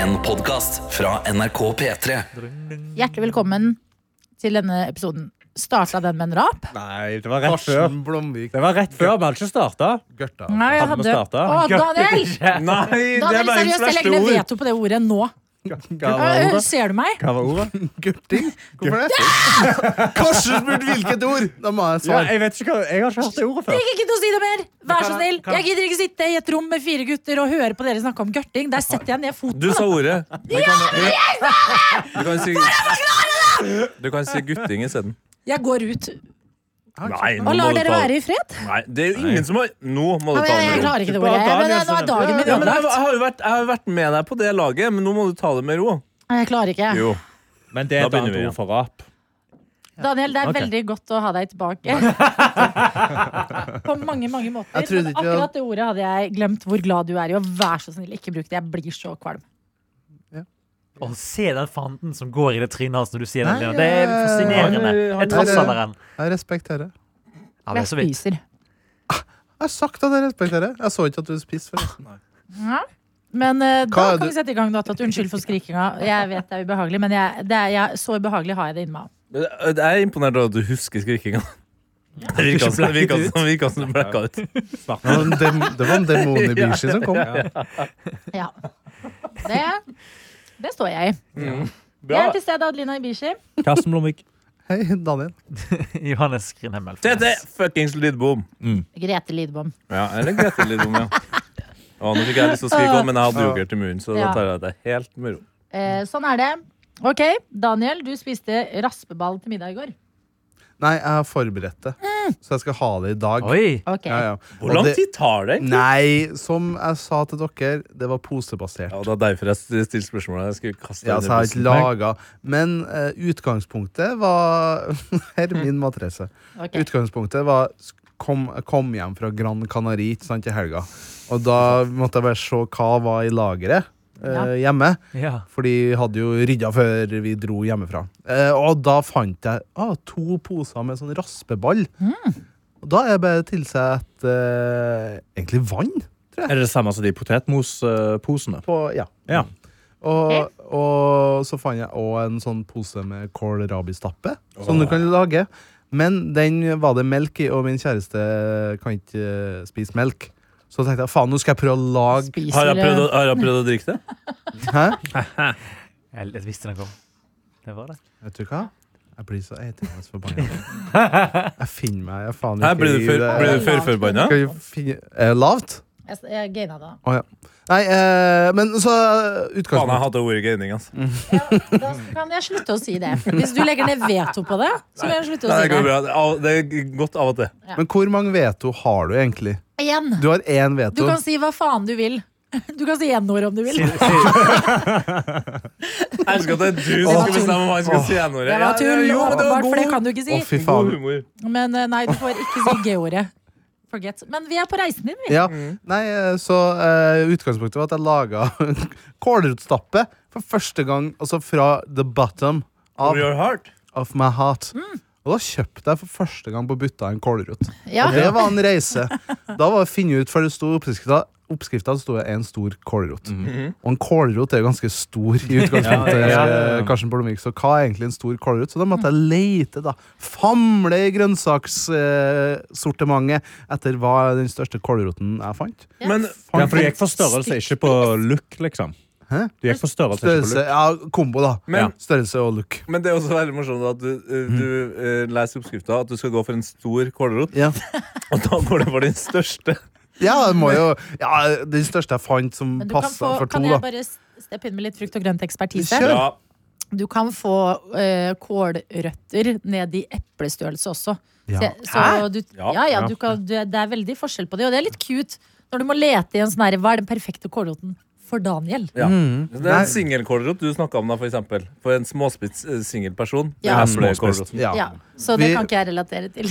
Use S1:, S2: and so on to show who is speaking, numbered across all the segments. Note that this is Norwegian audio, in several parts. S1: En podcast fra NRK P3
S2: Hjertelig velkommen til denne episoden. Starta den med en rap?
S3: Nei, det var rett før.
S4: Karsten Blomvik
S3: Det var rett før vi hadde ikke starta.
S4: Gørta.
S2: Nei, jeg
S3: Hadde vi
S2: hadde Å,
S3: starta?
S2: Daniel!
S3: Nei,
S2: Daniel, seriøst, jeg legger ned veto på det ordet nå.
S3: Hva var
S2: Øh,
S3: ordet?
S2: Ser du meg?
S3: Hva var ordet?
S4: Gørting? Hvorfor det? Karsten spurte hvilket ord! Da må jeg
S3: Ja,
S4: svare.
S3: jeg vet ikke hva Jeg har ikke hørt det ordet
S2: Jeg
S3: før.
S2: gidder ikke å si det mer! Vær så
S4: Kan
S2: snill.
S4: jeg- kan jeg-
S2: Jeg gidder ikke sitte i et rom med fire gutter og høre på dere snakke om gørting. Der setter jeg ned foten.
S5: Du sa ordet. Ja, men jeg sa det! Du kan si, du kan si gutting isteden.
S2: Jeg går ut.
S5: Nei, nå
S2: Og
S5: må
S2: lar
S5: du
S2: dere
S5: ta
S2: være i fred?
S5: Nei, det er jo ingen som har Nå må du
S2: Ja, men
S5: ta
S2: jeg, jeg
S5: det med ro.
S2: klarer ikke det
S3: Bare
S2: ordet.
S3: Daniel
S2: Men nå er
S3: som-
S2: dagen min
S5: Ja, men jeg,
S2: ødelagt.
S5: jeg har jo vært, jeg har vært med deg på det laget, men nå må du ta det med ro.
S2: Nei, Jeg klarer ikke.
S5: Jo.
S3: Men det er
S5: Da
S3: et
S5: begynner
S3: annet
S5: vi igjen.
S3: ord for rap.
S2: Daniel, det er
S3: Ok.
S2: veldig godt å ha deg tilbake. På mange, mange måter.
S4: Jeg
S2: Men
S4: trodde ikke vi hadde-
S2: akkurat det ordet hadde jeg glemt hvor glad du er i. Og vær så snill, ikke bruk det. Jeg blir så kvalm.
S6: Å, se den fanden som går i det trynet hans når du sier
S4: Nei,
S6: den. Leon. Det er
S4: eh,
S6: fascinerende.
S5: han-
S6: Jeg trasser den.
S4: Jeg respekterer.
S6: Ja, det
S2: Jeg
S6: er så vidt.
S2: spiser.
S4: Jeg har sagt at jeg respekterer. Jeg så ikke at du spiste før.
S2: Ja. Men eh, da
S4: Hva er
S2: kan
S4: det-
S2: vi sette i gang. Da, tatt. Unnskyld for skrikinga. Jeg vet det er ubehagelig, men jeg, det er, jeg, så ubehagelig har jeg det inni meg.
S5: øh, Jeg er imponert over at du husker skrikinga. Det virka som det virka som- det virka som du blacka ut.
S4: Det var en, dem, det var en demon i Bishi som kom.
S2: Ja. Det, det står jeg i. Jeg
S5: Bra.
S2: er til stede Adelina Ibishi.
S3: Karsten Blomvik.
S4: Hei, Daniel.
S6: Johannes Grinhemmel.
S5: Tete fuckings Lidbom.
S2: Grete Lidbom.
S5: Ja, eller Grete Lidbom, ja. Å, nå fikk jeg lyst til å skrike òg, men jeg hadde yoghurt i munnen, så da tar jeg det helt med ro.
S2: Eh, sånn er det. Ok, Daniel, du spiste raspeball til middag i går.
S4: Nei, jeg har forberedt det, så jeg skal ha det i dag.
S6: Oi!
S2: Ok,
S4: Ja, ja.
S5: Hvor lang
S4: Og det-
S5: tid tar det?
S4: Nei, som jeg sa til dere, det var posebasert.
S5: Ja, og Det er derfor jeg stilte spørsmålet. Jeg skulle kaste
S4: Ja,
S5: det
S4: så jeg har
S5: under
S4: ikke laga. Men eh, utgangspunktet var Hermin Matrese.
S2: ok.
S4: Utgangspunktet var sk- kom, jeg kom hjem fra Gran Canaria ikke sant, i helga. Og da måtte jeg bare se hva var i lageret eh,
S2: Ja.
S4: hjemme.
S6: Ja.
S4: For de hadde jo rydda før vi dro hjemmefra. Eh, og da fant jeg ah, to poser med sånn raspeball. Og da er det bare å tilsette eh, egentlig vann.
S3: Er det det samme som de potetmosposene?
S4: På, ja.
S3: Ja.
S4: Og, og så fant jeg òg en sånn pose med kålrabistappe, som du kan lage. Men den var det melk i, og min kjæreste kan ikke eh, spise melk. Så tenkte jeg faen, nå skal jeg prøve å lage
S5: Har
S2: Spiser
S5: jeg, prøvd å, har jeg prøvd å drikke det?
S4: Hæ?
S6: Jeg jeg visste den kom. Det var det.
S4: Vet du hva? Jeg blir så eitrende forbanna. Jeg finner meg jeg faen
S5: Her blir du
S4: i det.
S5: før- blir du førforbanna?
S4: Skal vi finne Er det lavt?
S2: Jeg, jeg gaina det.
S4: Å ja. Nei, eh, men så
S5: Faen, jeg
S4: Utgangspunktet
S5: hater ordet gaining. Altså.
S2: Da kan jeg slutte å si det. Hvis du legger ned veto på det, så kan jeg slutte å
S5: Nei, det,
S2: si
S5: går
S2: det.
S5: bra. Det er av- det er godt av og til.
S4: Men hvor mange veto har du egentlig?
S2: Igjen.
S4: Du har én veto.
S2: Du kan si hva faen du vil. Du kan si n-ord om du vil.
S5: Jeg elsker at det er du
S2: Det
S5: som
S2: var
S5: skal
S2: tull.
S5: bestemme hva jeg skal si. her, Nore.
S2: Det
S5: Ja,
S2: var tull,
S5: jo, men det var
S2: åpenbart, for det
S5: god-
S2: kan du ikke
S4: Å,
S2: si.
S4: fy faen.
S5: god humor.
S2: Men eh, nei, du får ikke si g-ordet. Forget. Men vi er på reisen din, vi.
S4: Ja. Nei, eh, så eh, utgangspunktet var at jeg laga kålrotstappe for første gang, altså fra the bottom
S5: For
S4: of,
S5: your heart.
S4: of my heart. Og da kjøpte jeg for første gang på butta en kålrot.
S2: Ja.
S4: Og det var en reise. Da var det å finne ut, for det sto i oppskrifta Oppskrifta sto det en stor kålrot. Og en kålrot er jo ganske stor i utgangspunktet.
S3: Mhm. Ja, ja, ja.
S4: eh, Karsten Blomvik, Så hva er egentlig en stor kålrot? Så da måtte jeg leite, da. Famle i grønnsakssortimentet eh, sortimentet etter hva den største kålroten jeg fant.
S5: Men
S3: Ja, for du gikk for størrelse, ikke på look, liksom.
S4: Hæ?
S3: Du gikk for størrelse, ikke på
S4: Størrelse,
S3: look.
S4: ja, kombo, da.
S5: Men-
S4: ja. Størrelse og look.
S5: men det er også veldig morsomt at du, eh, du eh, leser oppskrifta at du skal gå for en stor kålrot,
S4: Ja.
S5: og da går det for den største.
S4: ja, det må jo Ja, den største jeg fant som
S2: Men du kan,
S4: passa
S2: få,
S4: for to,
S2: kan jeg
S4: da.
S2: bare steppe inn med litt frukt og grønt ekspertise?
S4: Kjør.
S5: Ja,
S2: Du kan få eh, kålrøtter ned i eplestørrelse også.
S4: Ja.
S2: Se- Så du, ja,
S5: Ja,
S2: ja,
S3: ja.
S2: du kan, du, det er veldig forskjell på det, og det er litt cute når du må lete i en sånn her Hva er den perfekte kålroten for Daniel?
S5: ja. Det er
S4: Nei.
S5: en singelkålrot du snakka om, da, for eksempel. For en småspist eh, singelperson. Det
S2: Ja.
S5: er småkålroten.
S4: Ja.
S2: Ja, så det
S4: Vi-
S2: kan ikke jeg relatere til.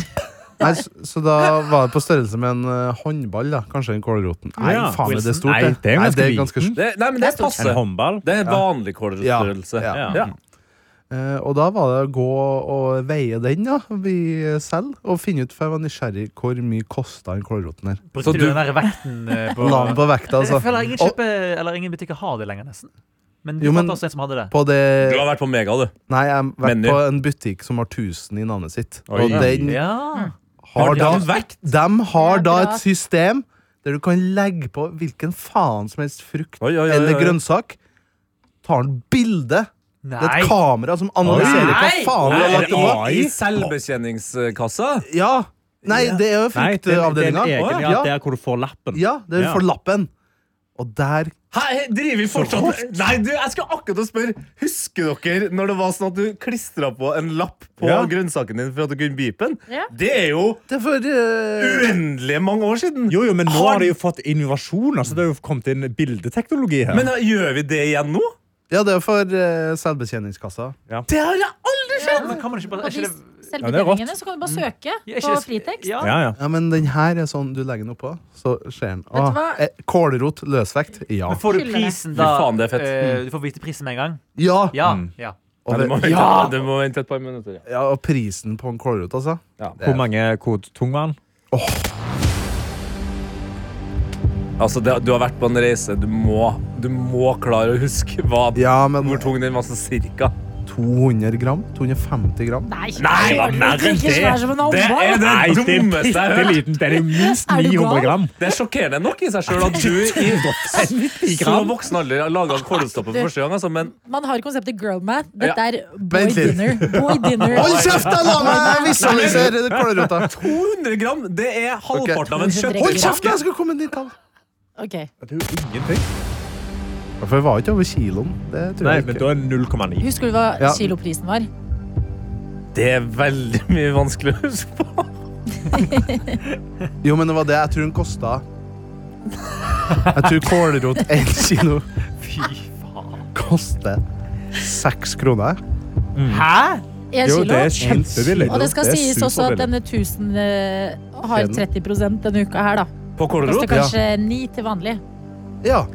S4: Nei, så, så da var det på størrelse med en eh, håndball, da. Kanskje den kålroten. Nei,
S3: Ja.
S4: faen, det er
S3: Wilson.
S4: stort,
S3: Nei,
S4: det.
S3: det er ganske
S4: ganske
S3: liten.
S4: stort.
S5: Det, nei, men det er
S3: En
S5: passe.
S3: håndball?
S5: Det er en vanlig kålrotstørrelse.
S4: Ja.
S3: Ja.
S5: Ja.
S4: Eh, og da var det å gå og veie den, da, vi selv, og finne ut, for jeg var nysgjerrig, hvor mye kosta den kålroten her.
S6: Brukte
S5: du-
S6: du den der vekten eh, på
S4: La den på vekta,
S6: Jeg
S4: altså.
S6: føler ingen,
S4: Og,
S6: kjøper, eller ingen butikker har det lenger, nesten. Men du
S4: Jo, men-
S6: fant også en som hadde det.
S4: På det
S5: Du har vært på Mega, du.
S4: Nei, jeg har vært
S5: Menu.
S4: på en butikk som har 1000 i navnet sitt.
S5: Oi.
S4: Og den
S6: Ja.
S4: har da
S5: du vekt?
S4: De
S2: Det er
S4: har da
S2: bra.
S4: et system der du kan legge på hvilken faen som helst frukt
S5: Oi, oi, oi,
S4: eller
S5: oi.
S4: grønnsak. Tar en bilde. Det er
S6: Nei.
S4: et kamera som analyserer hva faen
S5: Nei!
S4: du har
S5: Nei,
S4: lagt det på.
S5: er det I selvbetjeningskassa?
S4: Ja. Nei, det er jo
S3: Nei, det, det er en
S4: fruktavdelinga.
S3: egen, ja,
S4: Ja,
S3: der hvor du får lappen.
S4: ja, det er
S3: Ja.
S4: for lappen. Og der
S5: Hæ, driver vi fortsatt Nei, du, jeg skal akkurat å spørre. Husker dere når det var sånn at du klistra på en lapp på
S3: Ja.
S5: grønnsaken din for at du kunne bipe den?
S2: Ja.
S5: Det er jo
S4: Det er for eh,
S5: uendelig mange år siden.
S3: Jo, jo, men nå
S5: Har-
S3: har de jo fått innovasjon. Altså, det har jo kommet inn bildeteknologi her.
S5: Men eh, gjør vi det igjen nå?
S4: Ja, det er for eh, selvbetjeningskassa.
S5: Det har jeg aldri
S2: Ja.
S6: Men kan man
S2: På
S6: ikke bare er
S2: de
S6: ikke det,
S2: selvbetjeningene så kan du bare søke
S6: er ikke
S2: på
S6: det-
S2: Fritex.
S6: Ja.
S3: ja, ja.
S4: Ja, men den her er sånn du legger den oppå, så skjer den.
S2: du
S4: Ah,
S2: hva?
S4: eh, Kålrot løsvekt. Ja.
S6: Men får du
S2: Hyller det.
S6: prisen da?
S5: Fy faen, det er fett.
S6: eh, du får vite prisen med en gang?
S4: Ja.
S6: Ja.
S3: Mm.
S6: ja.
S4: Og,
S5: Nei, du, må
S4: det,
S5: vente,
S6: Ja!
S5: du må vente et par minutter. Ja.
S4: ja, og prisen på en kålrot, altså.
S3: Hvor mange hvor tung var den?
S5: Altså, det, du har vært på en reise. Du må, du må klare å huske hva,
S4: Ja, men
S5: hvor tung den var sånn cirka.
S4: 200 gram? 250 gram?
S2: Nei,
S5: Nei, det var mer enn
S2: Ikke
S5: det.
S2: svær som en
S5: Det
S2: håndball.
S5: er det
S3: Nei, det er
S5: dummeste jeg har hørt.
S3: bitteliten. Den er jo minst
S2: Er du
S3: 900
S2: gal?
S3: gram.
S5: Det er sjokkerende nok i seg sjøl at du i så voksen alder har laga kålstoppe for første gang. Altså, men
S2: Man har konseptet girlmat. Dette
S5: Ja.
S2: er boy
S4: Vent litt.
S2: dinner. Boy dinner.
S4: Hold kjeft, da! La meg visualisere kålrota.
S5: 200 gram, det er halvparten av en kjøtt...
S4: Hold kjeft, da, jeg skal komme med et nytt tall!
S2: Ok,
S4: For det var ikke over kiloen. Det tror
S3: Nei,
S4: jeg
S3: men
S4: ikke.
S3: da er 0,9.
S2: Husker du hva
S4: Ja.
S2: kiloprisen var?
S5: Det er veldig mye vanskelig å huske på.
S4: Jo, men det var det jeg tror den kosta. Jeg tror kålrot én kilo
S6: Fy faen.
S4: koster seks kroner.
S6: Hæ?
S2: Én
S3: Jo,
S2: kilo.
S3: det er kjempebillig.
S2: Og det skal
S3: er
S2: sies også
S3: superbillig.
S2: at denne 1000 eh, har
S4: Kjeden.
S2: 30 denne uka her, da.
S5: På
S2: Koster
S5: kålrot?
S2: kanskje 9 til vanlig.
S4: Ja.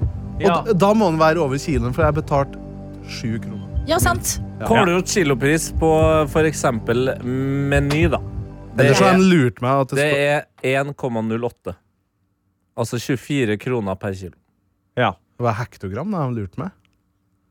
S6: Ja.
S4: Og d- da må den være over kiloen, for jeg betalte sju kroner.
S2: Ja, sant.
S5: Kålrot kilopris på for eksempel Meny, da. Det
S4: Ellers har
S5: er,
S4: de lurt meg at det
S5: det
S4: står
S5: er 1,08. Altså 24 kroner per kilo.
S3: Ja.
S4: Det var hektogram da de lurte meg.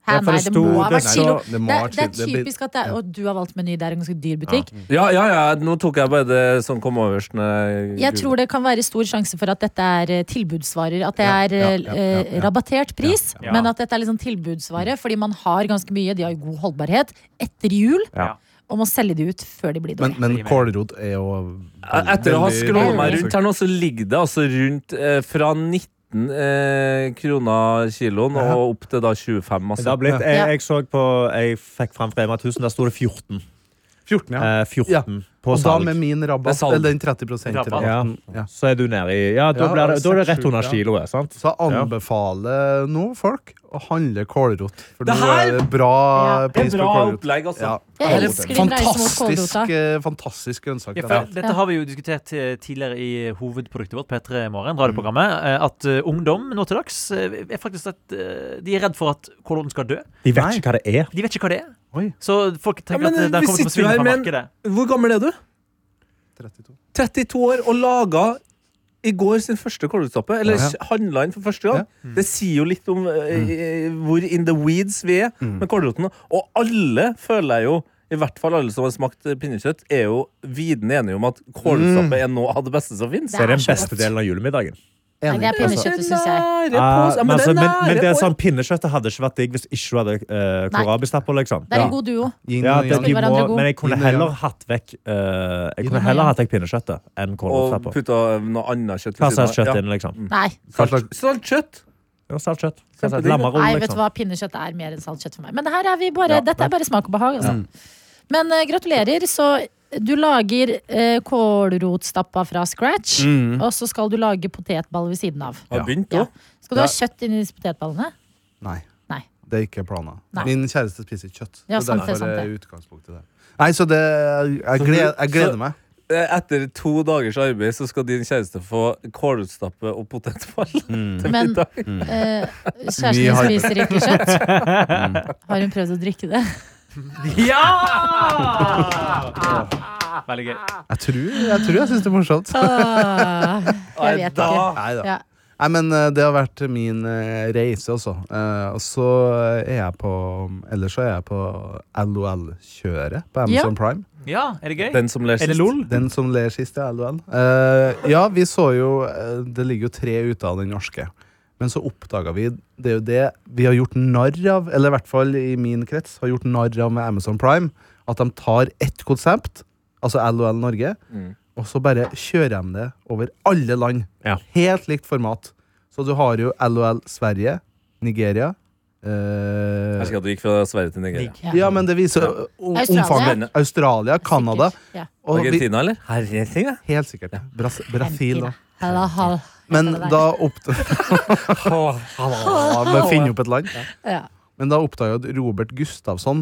S2: Hæ,
S3: Ja, for
S2: nei,
S3: det
S2: det må
S3: sto-
S2: ha
S3: det
S2: vært
S3: sto-
S2: kilo.
S4: det må
S2: Det,
S4: ha vært
S2: det er
S4: kilo. Det blir-
S2: typisk at det er Og du har valgt Meny, det er en ganske dyr butikk.
S5: Ja, ja, ja, nå tok jeg bare det som kom øverst. når
S2: Jeg tror det kan være stor sjanse for at dette er eh, tilbudsvarer. At det
S4: Ja,
S2: er
S4: ja,
S2: eh,
S4: ja, ja, ja.
S2: rabattert pris,
S6: Ja.
S2: men at dette er liksom tilbudsvare. Fordi man har ganske mye, de har jo god holdbarhet etter jul.
S3: Ja.
S2: Og må selge de ut før de blir
S4: Men,
S2: dårlige.
S4: men kålrot er jo
S5: Eh, Etter å ha
S4: veldig-
S5: scrollet meg rundt her nå, så ligger det altså rundt eh, fra 19 eh, kroner kiloen og opp til da 25.
S3: Det har
S5: Altså.
S3: blitt, jeg,
S2: Ja.
S3: jeg så på Jeg fikk fram fra Rema 1000, der sto det 14.
S4: 14, ja.
S3: Eh, 14
S4: Ja.
S3: på
S4: Og da
S3: salg.
S4: med min
S5: Det er
S4: rabatt,
S5: salg.
S4: eller den 30
S6: Rabatt.
S4: rabatten. Ja.
S3: Så er du nede i Ja, da,
S4: Ja,
S3: blir det, da er det rett
S4: seks, sju,
S3: under
S4: ja.
S3: kiloet, sant?
S4: Så jeg anbefaler nå folk å handle kålrot. For
S5: Det
S4: nå
S5: her-
S4: er det bra
S2: Ja.
S5: Det
S4: pris
S5: er
S4: på
S5: bra
S4: kålrot.
S5: opplegg, altså.
S4: Ja.
S2: Jeg elsker din reise mot
S4: Fantastisk,
S2: kålrota.
S4: eh, fantastisk grønnsak.
S6: Ja,
S4: det
S6: for
S4: der.
S6: Dette har vi jo diskutert eh, tidligere i hovedproduktet vårt, P3 Morgen, radioprogrammet, eh, at eh, ungdom nå til dags eh, er faktisk at eh, de er redd for at kålroten skal dø.
S3: De vet ikke hva det er.
S6: De vet ikke hva det er.
S4: Oi.
S6: Så folk tenker
S5: Ja, men,
S6: at eh,
S5: vi
S6: den kommer til å
S5: sitter jo
S6: forsvinne
S5: her
S6: fra
S5: med en-
S6: markedet.
S5: Hvor gammel er du?
S4: 32.
S5: 32 år og laga i går sin første kålrotstappe. Eller
S4: Ja.
S5: handla inn for første gang.
S3: Mm.
S5: Det sier jo litt om eh, eh, hvor in the weeds vi er
S3: Mm.
S5: med kålroten. Og alle føler jeg jo i hvert fall alle som har smakt eh, pinnekjøtt, er jo viden enige om at kålrotstappe
S3: Mm.
S5: er noe av det beste som fins.
S3: Det er den
S2: så
S3: beste
S2: godt.
S3: delen av julemiddagen.
S2: Nei, det er
S4: Enig.
S2: pinnekjøtt. kjøttet, synes jeg.
S3: Eh,
S5: Nære på, ja,
S3: men,
S5: men det
S3: altså,
S5: er
S3: men, men det
S5: nære
S3: er
S5: på.
S3: sånn pinnekjøttet hadde ikke vært digg hvis ikke du hadde uh,
S2: Nei.
S3: kålrabistapper. Liksom.
S2: Det er
S3: Ja.
S2: en god duo.
S4: Yin
S3: Ja,
S4: og
S3: det,
S4: yang.
S3: de
S2: Skal være
S3: må,
S2: andre god.
S3: men jeg kunne
S4: Inn og
S3: heller
S4: yang.
S3: hatt vekk eh, Jeg
S2: og
S3: kunne heller
S2: yang.
S3: hatt vekk pinnekjøttet enn
S5: Og
S3: kålrotstapper.
S5: putta noe annet kjøtt. ved
S3: Hva slags
S5: siden av. Mm.
S3: kjøtt inn, liksom?
S2: Nei,
S4: Hva slags-
S5: Salt kjøtt.
S3: Ja, salt kjøtt.
S5: Kjempedigg.
S3: Lammeroll,
S2: nei vet du
S3: liksom.
S2: hva, pinnekjøtt er mer enn saltkjøtt for meg. Men det her er vi bare,
S3: Ja.
S2: dette er bare smak og behag. Altså. Men eh, gratulerer. Så du lager eh, kålrotstappa fra scratch, og så skal du lage potetball ved siden av.
S5: Har begynt
S2: Ja.
S5: da.
S2: Skal du ha
S4: Det
S2: kjøtt inni disse potetballene?
S4: Nei.
S2: Nei.
S4: Det er ikke planen.
S2: Nei.
S4: Min kjæreste spiser kjøtt.
S2: Ja,
S4: så
S2: sant det,
S4: derfor
S2: sant det.
S4: er utgangspunktet der. Nei, så det Jeg, gled, jeg gleder meg.
S5: Eh, Etter to dagers arbeid så skal din kjæreste få kålrotstappe og potetball.
S7: Mm.
S5: til
S2: Men-
S5: middag.
S2: Eh, kjæresten
S4: Vi
S2: din
S4: har-
S2: spiser ikke kjøtt. Har hun prøvd å drikke det?
S6: Ja! Veldig gøy.
S4: Jeg tror jeg, tror jeg syns det er morsomt.
S2: Ah, jeg vet
S5: da-
S2: ikke.
S4: Nei da.
S2: Ja.
S4: Nei, men eh, det har vært min eh, reise, altså. Eh, og så eh, er jeg på Ellers så er jeg på LOL-kjøret på Amazon
S2: Ja.
S4: Prime.
S6: Ja, er det gøy?
S5: Den som ler
S6: er det
S5: sist.
S6: LOL?
S4: Den som ler sist, er LOL. Eh, ja, vi så jo eh, Det ligger jo tre ute av den norske. Men så oppdaga vi Det er jo det vi har gjort narr av, eller i hvert fall i min krets, har gjort narr av med Amazon Prime. At de tar ett konsept, altså LOL Norge,
S5: Mm.
S4: og så bare kjører de det over alle land.
S5: Ja.
S4: Helt likt format. Så du har jo LOL Sverige, Nigeria eh,
S5: Jeg husker at du gikk fra Sverige til Nigeria.
S6: Digg.
S4: Ja, men det viser jo o-
S2: Australia.
S4: omfanget. Australia, Canada.
S2: Sikkert. Ja.
S4: og vi-
S5: Argentina, eller? Herregud, ja.
S4: Helt sikkert. Bras Brasil da.
S2: Argentina. Halla, hall.
S4: Men
S2: Det der.
S4: da oppdaga Finne opp et land.
S2: Ja.
S4: Men da oppdaga jeg at Robert Gustafsson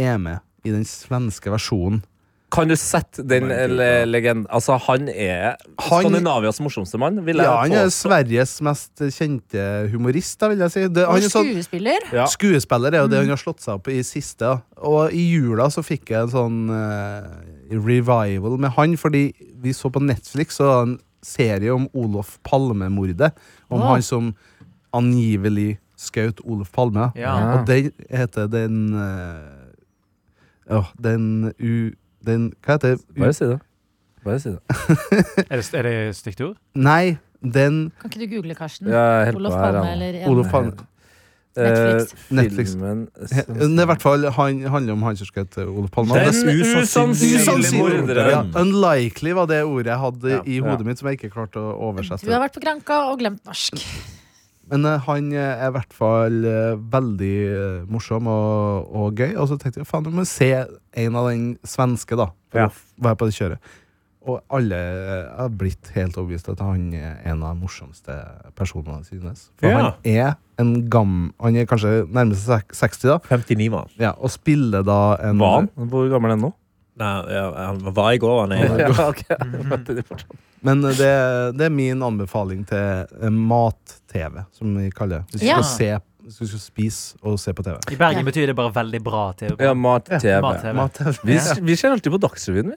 S4: er med i den svenske versjonen.
S5: Kan du sette den eh, le- legenden Altså, han er
S4: Han-
S5: Skandinavias morsomste mann, vil jeg
S4: Ja, han er
S5: påstå.
S4: Sveriges mest kjente humorist, da, vil jeg si. Det, han
S2: Og
S4: er sånn
S2: skuespiller.
S5: Ja.
S4: Skuespiller er jo det han har slått seg opp i siste. da. Og i jula så fikk jeg en sånn eh, revival med han, fordi vi så på Netflix så var det en serie om Olof Palme-mordet. Om
S2: Åh.
S4: han som angivelig skjøt Olof Palme.
S6: Ja.
S4: Og den heter den eh, Åh, den u... Den, hva heter
S5: Bare
S4: det?
S5: si det. Bare si det.
S6: Er det, er det stygt ord?
S4: Nei, den
S2: Kan ikke du google, Karsten?
S5: Jeg holder på
S2: Olof
S5: her,
S2: Palme
S5: Anne.
S2: eller en-
S4: Olof Palme.
S2: Netflix.
S5: Eh,
S4: Netflix.
S5: Filmen
S4: He- Det er i hvert fall han, handler om han som skjøt Olof Palme. Og det-
S5: Den usannsynlige
S4: Usannsynlig.
S5: morderen.
S4: Ja, unlikely var det ordet jeg hadde
S5: Ja,
S4: i
S5: ja.
S4: hodet mitt, som jeg ikke klarte å
S2: Du har
S4: oversette.
S2: vært på Granka og glemt norsk.
S4: Men eh, han eh, er i hvert fall eh, veldig eh, morsom og, og gøy. Og så tenkte jeg faen, du må se en av den svenske, da, for
S5: Ja.
S4: å være på det kjøret. Og alle eh, har blitt helt overbevist at han er en av de morsomste personene synes. For
S5: Ja.
S4: han er en gam... Han er kanskje nærmest sek- 60, da,
S7: 59 var han.
S4: ja, og spiller da en
S5: Var han? Hvor gammel er han nå?
S7: Nei, ja, han var i går, han er
S5: Ja, ok. Det er fortsatt.
S4: Men eh, det, det er min anbefaling til eh, mat-TV, som vi kaller det. Hvis du,
S2: Ja.
S4: skal se, hvis du skal spise og se på TV.
S6: I Bergen
S2: Ja.
S6: betyr det bare veldig bra TV.
S5: Ja, mat-TV.
S6: Mat-TV.
S5: Vi, vi ser alltid på Dagsrevyen, vi.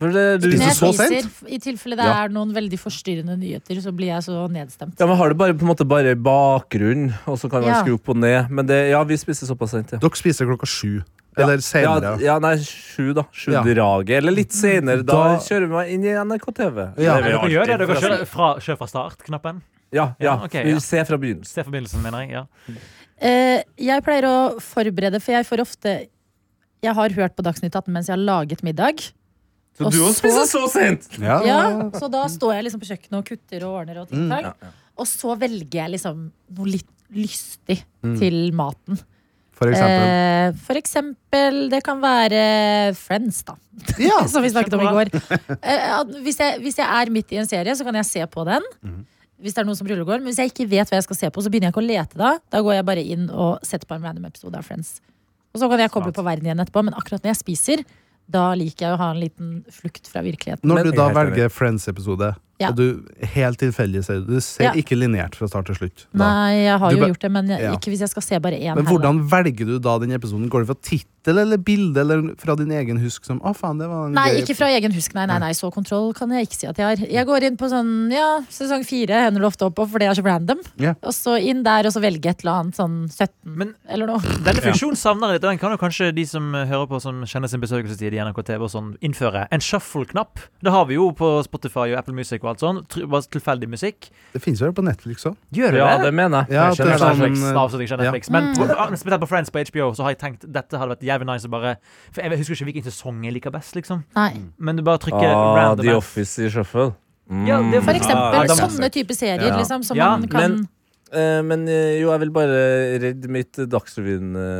S5: For det, du,
S4: Spiser
S2: Men
S4: så
S2: jeg
S4: sent?
S2: spiser, I tilfelle det er noen veldig forstyrrende nyheter, så blir jeg så nedstemt.
S5: ja, men har det bare på en måte bare bakgrunn, og så kan man
S2: Ja.
S5: skru opp og ned. Men det, ja, vi spiser såpass sent, ja.
S4: Dere spiser klokka sju. Eller senere.
S5: Ja, ja, nei, sju, da. Sju
S4: Ja.
S5: draget. Eller litt senere. Da,
S4: Da-
S5: kjører vi meg inn i NRK TV.
S4: Ja.
S5: Det er vi
S6: Dere
S5: alltid,
S6: gjør det, dere
S5: forresten.
S6: kjører fra, kjør fra start-knappen.
S5: Ja, ja.
S6: Ja, ok, ja.
S5: Vi ser fra begynnelsen.
S6: Se forbindelsen, mener jeg. Ja.
S2: Eh, jeg pleier å forberede, for jeg får ofte Jeg har hørt på Dagsnytt 18 mens jeg har laget middag.
S5: Så
S2: Og
S5: du også
S2: så-
S5: spiser så sent!
S4: Ja.
S2: Ja, så da står jeg liksom på kjøkkenet og kutter og ordner og ting.
S4: Mm,
S2: tak. Og så velger jeg liksom noe litt lystig til maten.
S4: Mm. For eksempel.
S2: Eh, for eksempel, det kan være Friends, da.
S4: Ja.
S2: som vi snakket om i går. Eh, at hvis, jeg, hvis jeg er midt i en serie, så kan jeg se på den.
S4: Mhm.
S2: Hvis det er noe som ruller og går Men hvis jeg ikke vet hva jeg skal se på, så begynner jeg ikke å lete da. Da går jeg bare inn og setter på en random episode av Friends. Og så kan jeg koble på verden igjen etterpå, men akkurat når jeg spiser, da liker jeg å ha en liten flukt fra virkeligheten.
S4: Når
S5: Men-
S4: du da
S5: Jeg er helt
S4: velger Friends-episode,
S2: Ja.
S4: og du helt tilfeldig ser Du ser
S2: Ja.
S4: ikke lineært fra start til slutt. Da.
S2: Nei, jeg har
S4: Du
S2: jo
S4: bare-
S2: gjort det, men jeg,
S4: Ja.
S2: ikke hvis jeg skal se bare én.
S4: Men
S2: her, da.
S4: hvordan velger du da den episoden? Går det fra tittel eller bilde, eller fra din egen husk som Å, faen, Mm, det var en
S2: Nei,
S4: gøy
S2: ikke fra egen husk. Nei, nei, nei, så kontroll kan jeg ikke si at jeg har. Jeg går inn på sånn, ja, sesong fire hender det ofte opp på, for det er så random.
S4: Ja.
S2: Og så inn der og så velge et eller annet sånn 17
S6: Men-
S2: eller noe.
S6: Denne funksjonen savner jeg litt. og Den kan jo kanskje de som hører på som kjenner sin besøkelsestid i NRK TV og sånn, innføre. En shuffle-knapp. Det har vi jo på Spotify og Apple Music og alt sånn. Tr- Bare tilfeldig musikk.
S4: Det finnes vel på Netflix òg.
S6: Gjør
S5: Ja, det mener jeg.
S4: Ja,
S5: jeg
S4: at det er
S5: skjønner det.
S4: sånn-
S6: Netflix, da, avslutter jeg ikke Netflix.
S2: Ja.
S6: Men på, ah, spesielt på Friends på HBO så har jeg tenkt dette hadde vært jævlig nice å bare For jeg husker ikke hvilken sesong jeg liker best, liksom.
S2: Nei.
S6: Men du bare trykker
S5: Ah,
S6: random.
S5: The
S6: app.
S5: Office i Shuffle. Mm.
S6: Ja, det er
S2: For eksempel
S6: Ah, da-
S2: sånne type serier,
S5: Ja.
S2: liksom, som
S6: Ja,
S2: man kan
S5: men- Eh, men eh, jo, jeg vil bare redde mitt eh,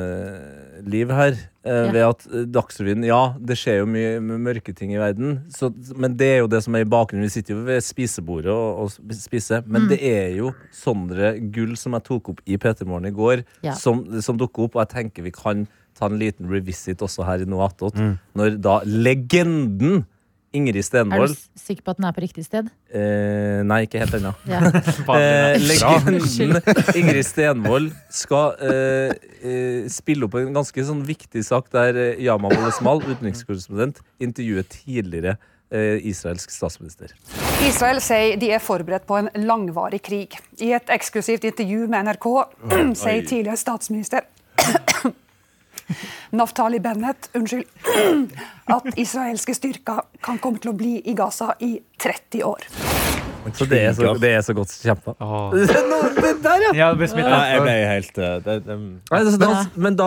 S5: Dagsrevyen-liv her. eh,
S2: Ja.
S5: Ved at eh, Dagsrevyen Ja, det skjer jo mye m- mørke ting i verden, så, men det er jo det som er i bakgrunnen. Vi sitter jo ved spisebordet og, og sp- spiser,
S2: Mm.
S5: men det er jo Sondre Gull som jeg tok opp i PT Morgen i går,
S2: Ja.
S5: som, som dukker opp, og jeg tenker vi kan ta en liten revisit også her i Noe attåt, når da legenden Ingrid
S2: Er du
S5: Stenvold
S2: s- sikker på at den er på riktig sted?
S5: eh, Nei, ikke helt ennå.
S2: Ja.
S5: Eh,
S2: Unnskyld.
S5: legenden Ingrid Stenvold skal eh, eh, spille opp en ganske sånn viktig sak der eh, Yama Molesmal, utenrikskorrespondent, intervjuet tidligere eh, israelsk statsminister.
S8: Israel sier de er forberedt på en langvarig krig. I et eksklusivt intervju med NRK sier tidligere statsminister Naftali Bennett unnskyld, at israelske styrker kan komme til å bli i Gaza i 30 år.
S5: Så det er så, det er så godt kjempa.
S6: Åh.
S5: det der, ja!
S6: Ja, det blir smittet.
S7: Nei, jeg ble helt eh, det, det,
S5: Nei, altså, da, men da,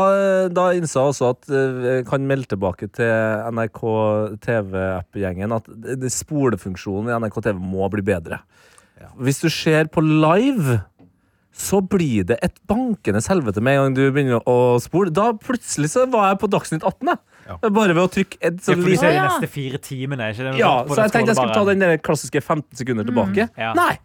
S5: da innså jeg også at eh, kan melde tilbake til NRK TV-app-gjengen at eh, det- det- spolefunksjonen i NRK TV må bli bedre. Hvis du ser på live, så blir det et bankende helvete med en gang du begynner å spole. Da plutselig så var jeg på Dagsnytt 18, jeg. Bare ved å trykke et
S6: Ja,
S5: sånn
S6: for du
S5: lite
S6: ser de
S2: Ja, ja.
S6: neste fire timene, er ikke det?
S5: Ja,
S6: På
S5: så jeg
S6: den
S5: tenkte jeg skulle ta den
S6: scrollbaren.
S5: der klassiske 15 sekunder tilbake.
S6: Ja.
S5: Nei!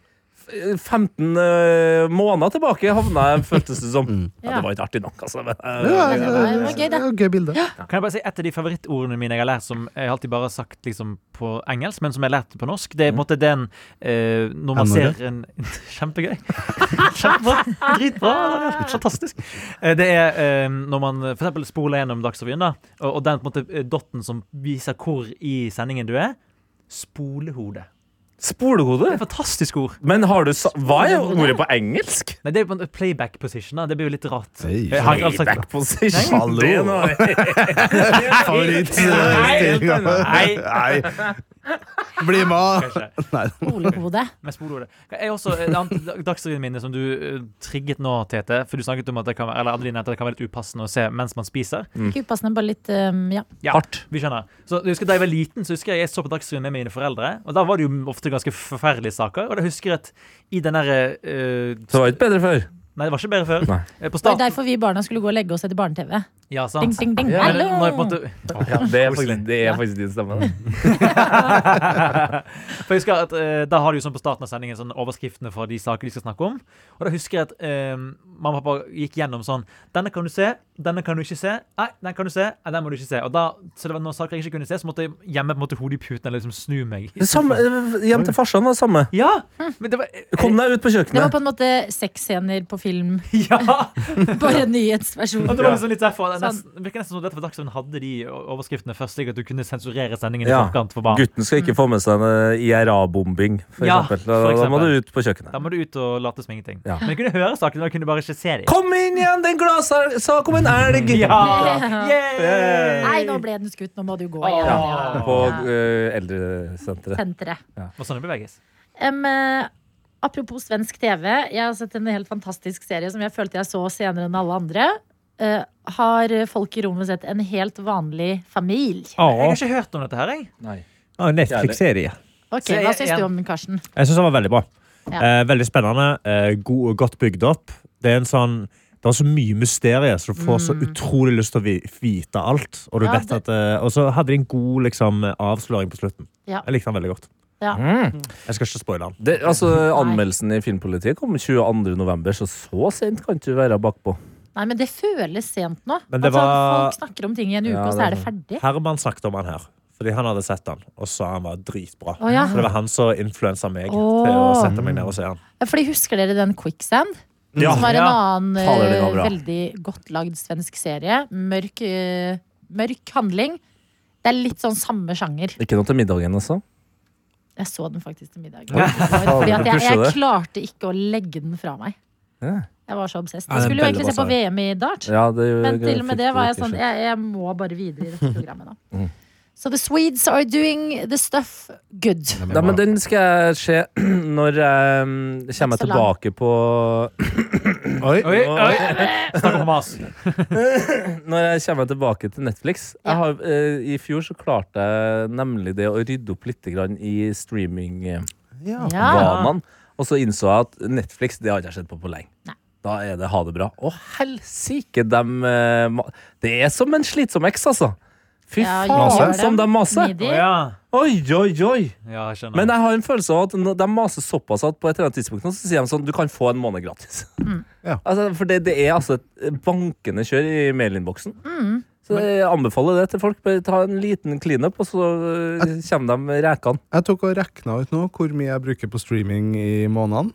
S5: f- 15 eh, måneder tilbake havna jeg, føltes det som. Ja,
S2: Ja.
S5: det var ikke artig nok, altså. Men,
S4: Ja,
S5: eh,
S2: det var- det var gøy, det.
S4: var gøy bilde.
S6: Kan jeg bare si Et av de favorittordene mine jeg har lært, som jeg alltid bare har sagt liksom, på engelsk, men som jeg lærte på norsk, det er på en måte den eh, Når man
S4: N-ordet?
S6: ser en Kjempegøy. Kjempebra. Dritbra. Fantastisk. Eh, det er eh, når man eh, for eksempel spoler gjennom Dagsrevyen, da, og, og den på en måte eh, dotten som viser hvor i sendingen du er. Spolehode. Det
S5: Spolehode?
S6: er et fantastisk ord.
S5: Men har du sa Hva er ordet på engelsk?
S6: Nei, det er på en måte playback position. Da. Det blir jo litt rart.
S4: Hey.
S6: Jeg har ikke alltid sagt det.
S5: Back position.
S4: Hallo.
S5: Det er noe-
S4: Favorittstillinga.
S6: Nei.
S4: Nei. Bli med!
S6: Kanskje.
S2: Olehode.
S6: Med spolordet. Jeg også, eh, et annet dagsrevyminne som du eh, trigget nå, Tete. For du snakket om at det kan være, eller Adeline, at det kan være litt upassende å se mens man spiser.
S2: Ikke upassende, bare litt um, ja.
S6: Ja, Hardt. Vi skjønner. Så jeg husker Da jeg var liten, så husker jeg jeg så på Dagsrevyen med mine foreldre. Og Da var det jo ofte ganske forferdelige saker. Og da husker jeg at i den derre eh,
S5: Så det var ikke bedre før.
S6: Nei, det var ikke bedre før.
S5: Nei.
S6: Eh, På
S2: Det var
S6: starten.
S2: derfor vi barna skulle gå og legge oss etter barne-TV.
S6: Ja,
S2: Ding,
S6: sant.
S2: ding, ding.
S6: Men
S2: Hallo!
S6: når jeg på en måte
S5: det, er faktisk, det er faktisk din stemme. da.
S6: For jeg husker at eh, Da har de jo sånn på starten av sendingen sånn overskriftene for de saker de skal snakke om. Og da husker jeg at eh, mamma og pappa gikk gjennom sånn Denne kan du se, denne kan du ikke se. Nei, den kan du se, nei, den må du ikke se. Og da, Så det var noen saker jeg ikke kunne se, så måtte jeg gjemme på en måte hodet i puten eller liksom snu meg.
S5: Det Samme, eh, hjem til farsan var det samme.
S6: Ja! Men det var
S5: Kom deg ut på
S2: Det var
S5: kjøkkenet.
S2: på en måte sexscener på film.
S6: Ja!
S2: Bare nyhetsversjon.
S6: Og det var liksom litt derfor Det er
S2: Sånn.
S6: nesten- det virker nesten som derfor Dagsrevyen hadde de overskriftene først, slik at du kunne sensurere sendingen i
S5: Ja.
S6: forkant for barn.
S5: Gutten skal ikke få med seg en eh, IRA-bombing, for,
S6: Ja,
S5: eksempel.
S6: for
S5: Da- Da må
S6: eksempel.
S5: du ut på kjøkkenet.
S6: Da må du ut og late som ingenting.
S5: Ja.
S6: Men jeg kunne høre sakene, men jeg kunne bare ikke se dem.
S5: Kom inn igjen, den glasar sa kom en elg!
S6: Ja! Yay! Ah.
S2: Nei, nå ble den skutt. Nå må du gå
S6: Åh.
S2: igjen.
S6: Ja.
S5: På eh, eldresenteret.
S2: Senteret.
S6: Må sånne beveges.
S2: Em, eh, apropos svensk TV. Jeg har sett en helt fantastisk serie som jeg følte jeg så senere enn alle andre. Eh, har folk i rommet sett en helt vanlig familie?
S6: Jeg har
S7: var
S6: ikke hørt om dette her, jeg.
S7: en Netflix-serie.
S2: Ok,
S6: Se
S2: Hva syns
S6: igjen.
S2: du om den, Karsten?
S7: Jeg syns den var veldig bra.
S2: Ja.
S7: Eh, veldig spennende. Eh, god, godt bygd opp. Det er en sånn det er så mye mysterier, så du får så utrolig lyst til å vi- vite alt. Og, du
S2: Mm. Ja,
S7: vet
S2: det-
S7: at, eh, og så hadde de en god liksom, avsløring på slutten.
S2: Ja.
S7: Jeg likte den veldig godt.
S2: Ja.
S5: Mm.
S7: Jeg skal ikke spoile den.
S5: Det, altså, anmeldelsen i Filmpolitiet kom 22. november, så så sent kan du være bakpå.
S2: Nei, men det føles sent nå.
S7: Men det
S2: altså,
S7: var-
S2: Folk snakker om ting i en uke,
S5: Ja,
S2: og så er
S5: det
S2: det ferdig.
S7: Herman snakket om han her, fordi han hadde sett den og sa han var dritbra.
S2: Å, ja.
S7: Så det var han som influensa
S2: Åh.
S7: meg til å sette meg ned og se han.
S2: Ja, Eh, Fordi Husker dere den Quicksand?
S7: Ja.
S2: Som var en
S6: Ja.
S2: annen
S5: Fader, det
S2: eh,
S5: var bra.
S2: veldig godt lagd svensk serie. Mørk, eh, mørk handling. Det er litt sånn samme sjanger.
S5: Ikke noe til middagen, altså?
S2: Jeg så den faktisk til middag. i går, Fordi at jeg,
S5: Pusher
S2: jeg
S5: det.
S2: klarte ikke å legge den fra meg.
S5: Ja.
S2: Jeg var så obsessed.
S7: Ja,
S2: Jeg
S7: den
S2: skulle jo
S7: belle
S2: egentlig se på
S7: basaren.
S2: VM i dart.
S5: Ja, det,
S2: Men til og med det var jeg
S5: fikk
S2: sånn
S5: du ikke
S2: Jeg, jeg må bare videre i dette programmet, da.
S5: Mm.
S2: Så the Swedes are doing the stuff good.
S5: skjønt. Nei, men den skal jeg se når jeg mm, kommer
S2: Så
S5: jeg
S2: lang.
S5: tilbake på
S4: Oi.
S6: Oi, oi. Snakk om mas.
S5: Når jeg kommer tilbake til Netflix.
S2: Ja.
S5: Jeg har, eh, I fjor så klarte jeg nemlig det å rydde opp litt grann i streamingvanene.
S2: Ja.
S5: Og så innså jeg at Netflix det har jeg ikke sett på på lenge.
S2: Nei.
S5: Da er det ha det bra. Å helsike, dem eh, ma- Det er som en slitsom eks, altså. Fy
S2: Ja, gjør
S5: faen,
S2: dem.
S5: som de maser!
S2: Nidi.
S6: Å ja.
S5: Oi, oi, oi!
S6: ja, jeg skjønner.
S5: Men jeg har en følelse av at når de maser såpass at på et eller annet tidspunkt nå, så sier de sånn du kan få en måned gratis.
S2: Mm.
S4: Ja.
S5: Altså, for det, det er altså et bankende kjør i mailinnboksen.
S2: Mm.
S5: Så jeg anbefaler det til folk. Bare ta en liten cleanup, og så øh, kommer de rekene.
S4: Jeg tok og rekna ut nå hvor mye jeg bruker på streaming i månedene.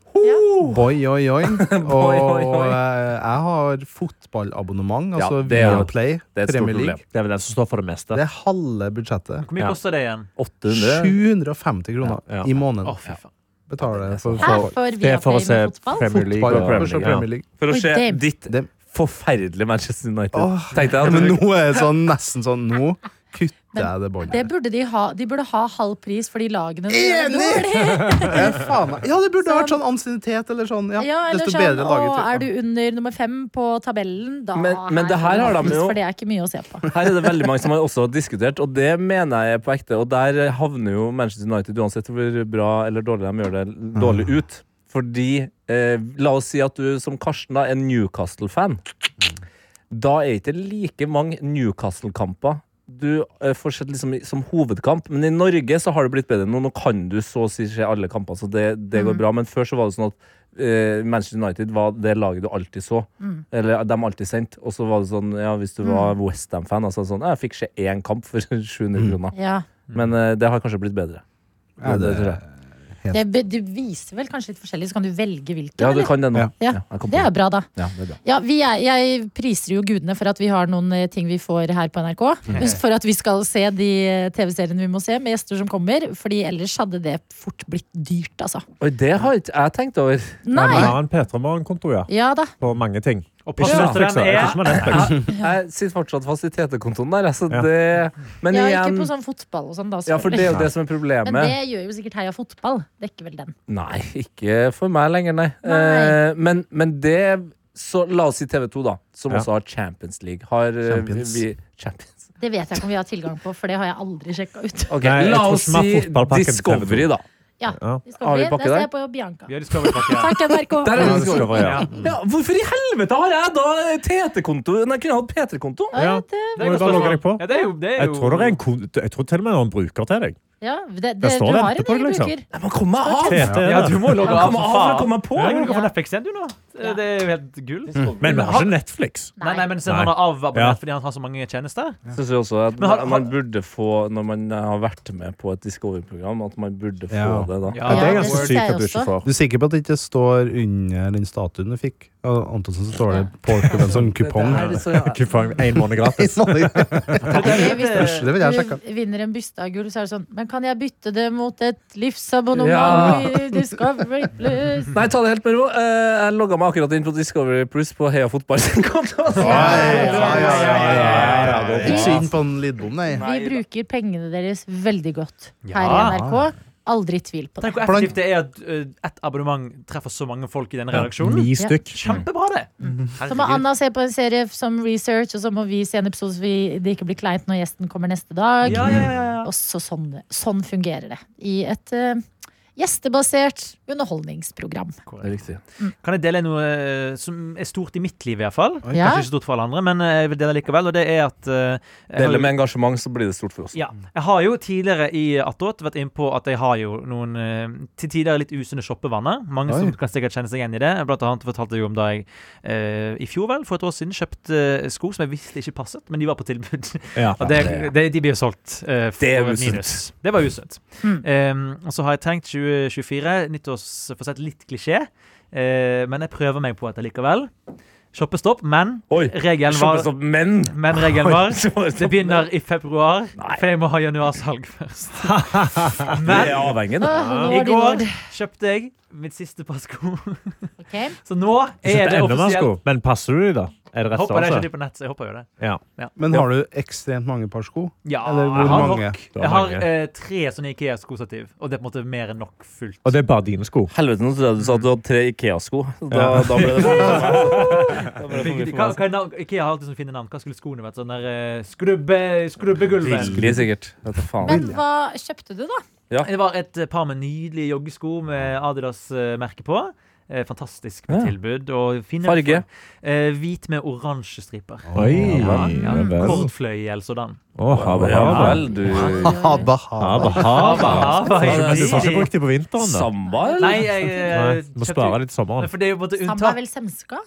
S4: Boy, oi, oi. Og
S5: Boy, oi, oi.
S4: eh, jeg har har fotballabonnement,
S5: Ja,
S4: altså
S5: det er-
S4: Viaplay,
S5: det er et stort
S4: Premier
S5: problem.
S4: League.
S7: Det er vel den som står for det meste.
S4: Det er halve budsjettet.
S6: Hvor mye
S7: Ja.
S6: koster det igjen?
S5: 800
S4: 750 kroner
S7: Ja, ja.
S4: i
S6: Å,
S4: måneden
S6: fy faen.
S4: betaler jeg for
S2: Her får vi
S7: Det er for å
S2: Viaplay
S7: se
S2: med fotball.
S7: Premier League.
S4: fotball.
S7: og
S4: for å
S7: Premier
S4: se
S7: League,
S4: Premier League.
S5: for å
S2: Oi,
S5: se
S2: damn.
S5: ditt
S4: Dem.
S5: forferdelige Manchester United.
S4: Åh.
S5: Tenkte
S4: Ja,
S5: jeg
S4: men
S5: at
S4: nå er det sånn, nesten sånn Nå kutter
S2: Men
S4: jeg det båndet.
S2: Det burde de ha. De burde ha halv pris for de lagene. som gjør det
S4: Enig!
S2: dårlig.
S4: Ja, faen meg. Ja, det burde
S2: Sånn.
S4: vært sånn ansiennitet eller sånn. Ja,
S2: Ja, eller
S4: desto
S2: sånn,
S4: bedre
S2: og
S4: laget.
S2: er du under nummer fem på tabellen, da
S5: Men- men
S2: er
S5: det her har de
S2: gratis,
S5: jo-
S2: For det er ikke mye å se på.
S5: Her er det veldig mange som har også diskutert, og det mener jeg er på ekte. Og der havner jo Manchester United, uansett hvor bra eller dårlig de gjør det, dårlig ut. Fordi eh, La oss si at du som Karsten da, er Newcastle-fan. Da er ikke like mange Newcastle-kamper du eh, får sett liksom, i- som hovedkamp. Men i Norge så har det blitt bedre. Nå, nå kan du så å si se alle kamper, så det, det
S2: Mm.
S5: går bra. Men før så var det sånn at eh, Manchester United var det laget du alltid så.
S2: Mm.
S5: Eller de alltid sendt. Og så var det sånn, ja, hvis du var Westham-fan, altså sånn, jeg fikk se én kamp for 700 kroner.
S2: Ja.
S5: Men eh, det har kanskje blitt bedre.
S4: Mm. Ja, det-
S5: tror jeg.
S2: Det, be- det viser vel kanskje litt forskjellig, så kan du velge hvilken.
S5: Ja, du
S2: eller?
S5: kan det nå.
S4: Ja.
S2: Ja,
S5: jeg kom på
S2: det er
S5: det.
S2: bra, da.
S5: Ja, det er bra.
S2: Ja, vi er, jeg priser jo gudene for at vi har noen eh, ting vi får her på NRK.
S5: Mm.
S2: For at vi skal se de eh, TV-seriene vi må se med gjester som kommer. Fordi ellers hadde det fort blitt dyrt, altså.
S5: Oi, det har ikke jeg tenkt over.
S7: Ja,
S2: Nei!
S7: Vi har en P3 Morgen-konto, ja.
S2: Ja da.
S7: På mange ting.
S6: Og
S7: Ikke som
S6: passord
S7: Netflix,
S6: til den
S7: da. Ikke
S6: er
S7: som Netflix.
S5: Jeg sitter fortsatt fast i TT-kontoen der, altså
S7: Ja.
S5: det Men
S2: Ja,
S5: igjen
S2: ikke på sånn fotball og sånn, da.
S5: Ja, for det er jo det som er
S2: selvfølgelig.
S5: problemet.
S2: Men det gjør jo sikkert Heia Fotball. Dekker vel den.
S5: Nei, ikke for meg lenger, nei.
S2: Nei.
S5: Eh, men, men det så La oss si TV2, da, som
S7: Ja.
S5: også har Champions League. Har eh,
S4: Champions.
S5: vi Champions
S2: Det vet jeg ikke om vi har tilgang på, for det har jeg aldri sjekka ut.
S5: Ok,
S7: Nei, jeg
S5: La
S7: tror
S5: oss
S7: som er
S5: si
S7: fotballpakken til
S5: Discovery,
S2: Ja,
S5: da.
S7: Ja.
S5: Har vi
S2: Discovery.
S5: pakke
S2: Det ser
S5: der?
S2: jeg på Bianca.
S6: Vi har Discovery-pakke.
S2: Takk, NRK.
S5: Der er
S7: Ja, det
S5: det
S7: skal
S5: Discovery.
S7: være, ja.
S5: Ja, hvorfor i helvete har jeg da TT-konto? Nei, Jeg kunne hatt PT-konto.
S2: Ja,
S7: Ja.
S2: det,
S6: Det er et
S7: Må du da
S6: godt
S7: logge deg
S6: spørsmål.
S7: på?
S6: Ja, det er jo, det er
S7: Jeg
S6: jo...
S7: tror, det er en kon jeg tror til og med det er en bruker til deg.
S2: ja, det, det,
S7: Jeg
S2: du
S7: står og
S2: har en
S7: venter på
S2: egen
S7: det, liksom.
S2: bruker.
S5: Jeg må komme meg av!
S7: PT er
S6: Ja,
S7: det.
S6: du må logge
S5: Jeg
S6: av
S5: må av
S6: for
S5: for å
S6: faen.
S5: komme meg på!
S6: Ja, du kan
S2: Ja.
S6: få Netflix igjen, du nå. Det er jo helt gull.
S7: Mm. Men vi har ikke Netflix.
S6: Nei, nei, men siden
S7: Nei.
S6: han har
S7: Ja.
S6: avabonnert fordi han har så mange tjenester.
S5: Synes jeg også at
S6: Men har-
S5: man burde få, når man har vært med på et Discovery-program, at man burde få
S4: Ja.
S5: det da.
S7: Ja, det er
S2: det
S7: ganske
S2: synes jeg
S7: sykt at du ikke
S2: også.
S7: får.
S4: Du er sikker på at det ikke står under den statuen du fikk? Av Antonsen så står det på en sånn kupong.
S5: Det er så, ja.
S7: Kupong én måned gratis.
S2: Ok, hvis
S6: Det-
S4: Det vil jeg sjekke.
S2: du vinner en byste av gull, så er det sånn Men kan jeg bytte det mot et livsabonnement
S5: Ja.
S2: i Discovery Plus?
S5: Nei, ta det helt med ro. Eh, Jeg logga meg akkurat inn på Discovery Plus på Heia Fotball. sin konto.
S4: Ikke synd på en Lidbom, nei.
S2: Vi bruker pengene deres veldig godt her i NRK. Aldri tvil på det.
S6: Tenk hvor effektivt det er at uh, ett abonnement treffer så mange folk i denne redaksjonen.
S7: Ni stykk.
S6: Kjempebra, det!
S2: Så må
S6: Herregud.
S2: Anna se på en serie som research, og så må vi se en episode så vi, det ikke blir kleint når gjesten kommer neste dag.
S6: Ja, ja, ja, ja.
S2: Og så sånn, sånn fungerer det i et eh, gjestebasert underholdningsprogram.
S5: Det er riktig.
S6: Kan jeg dele noe eh, som er stort i mitt liv, i hvert fall?
S2: Ja.
S6: Kanskje ikke stort for alle andre, men eh, jeg vil dele likevel. Og det er at eh, jeg har jo-
S5: Deler med engasjement, så blir det stort for oss.
S6: Ja. Jeg har jo tidligere i Attåt vært inne på at jeg har jo noen eh, til tider litt usunne shoppevaner. Mange som
S4: Oi.
S6: kan sikkert kjenne seg igjen i det. Blant annet fortalte jeg jo om da jeg eh, i fjor vel, for et år siden kjøpte eh, sko som jeg visste ikke passet, men de var på tilbud.
S7: Ja.
S6: Og det, det, de blir jo solgt eh, for
S5: Det er
S6: et
S5: usunt.
S6: minus. Det var usunt. Eh, og så har jeg tenkt 2024, nyttårsforsett litt klisjé, eh, men jeg prøver meg på det likevel. Shoppestopp, men
S5: Oi!
S6: regelen var
S5: Shoppes opp menn!
S6: men regelen var Det
S5: Det
S6: begynner i februar,
S5: Nei.
S6: for jeg må ha januarsalg først. Men
S5: er avhengig, det.
S2: Åh, nå
S6: i
S2: var de
S6: går
S2: nord.
S6: kjøpte jeg mitt siste par sko.
S2: Ok.
S6: Så nå er det
S7: enda mer
S6: offisielt.
S7: sko. Men passer du de, da? Er det rett
S6: Håper det er ikke
S7: størrelse?
S6: de på nett, så jeg håper jo det.
S7: Ja.
S4: Men har du ekstremt mange par sko?
S6: Ja,
S4: Eller hvor
S6: jeg har
S4: mange?
S6: nok.
S7: Du har
S6: Jeg har
S7: mange.
S6: eh, tre sånne Ikea-skostativ, og det er på en måte mer enn nok fullt.
S7: Og det er bare dine sko.
S5: Helvete, nå trodde jeg du sa at du hadde tre Ikea-sko. Da, da ble det for mye for meg. Da ble det for mye
S6: Hva,
S5: for meg.
S6: hva er navn? Ikea har alltid sånne fine navn. Hva skulle skoene vært? Sånn der eh, skrubbe, skrubbegulvet.
S5: Billig, sikkert. Vet du faen.
S2: Men hva kjøpte du, da?
S6: Det var et eh, par med nydelige joggesko med Adidas-merke på. Eh, Fantastisk med
S5: Ja.
S6: tilbud. Og fine
S5: Farge?
S6: Eh, hvit med oransje striper.
S7: Oi!
S6: Ja, ja.
S7: Ja vel.
S6: Kornfløyel sådan.
S7: Å, hava,
S5: Ja
S7: hava.
S5: vel, du
S4: Haba, haba.
S7: Hava, hava.
S6: Hava,
S7: Men Ah, Du får ikke
S6: hava.
S7: brukt de på vinteren, da.
S5: Samba, eller?
S6: Nei, jeg eh,
S7: Nei, må
S6: kjøpte-
S7: spare litt
S6: Men
S7: sommeren.
S6: For det er jo på en måte
S2: Samba er
S6: unntak.
S2: vel semska?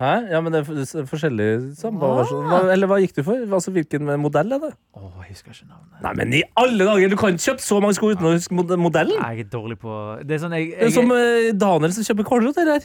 S5: Hæ? Ja, men det er f- s- forskjellige sambaversjoner. Hva- Eller hva gikk du for? Altså, Hvilken modell er det?
S6: Åh, jeg husker ikke navnet.
S5: Nei, men i alle dager! Du kan ikke kjøpe så mange sko uten å huske mod- modellen!
S6: Jeg er dårlig på Det er sånn jeg,
S5: Det er
S6: jeg,
S5: som eh, Daniel som kjøper kålrot her.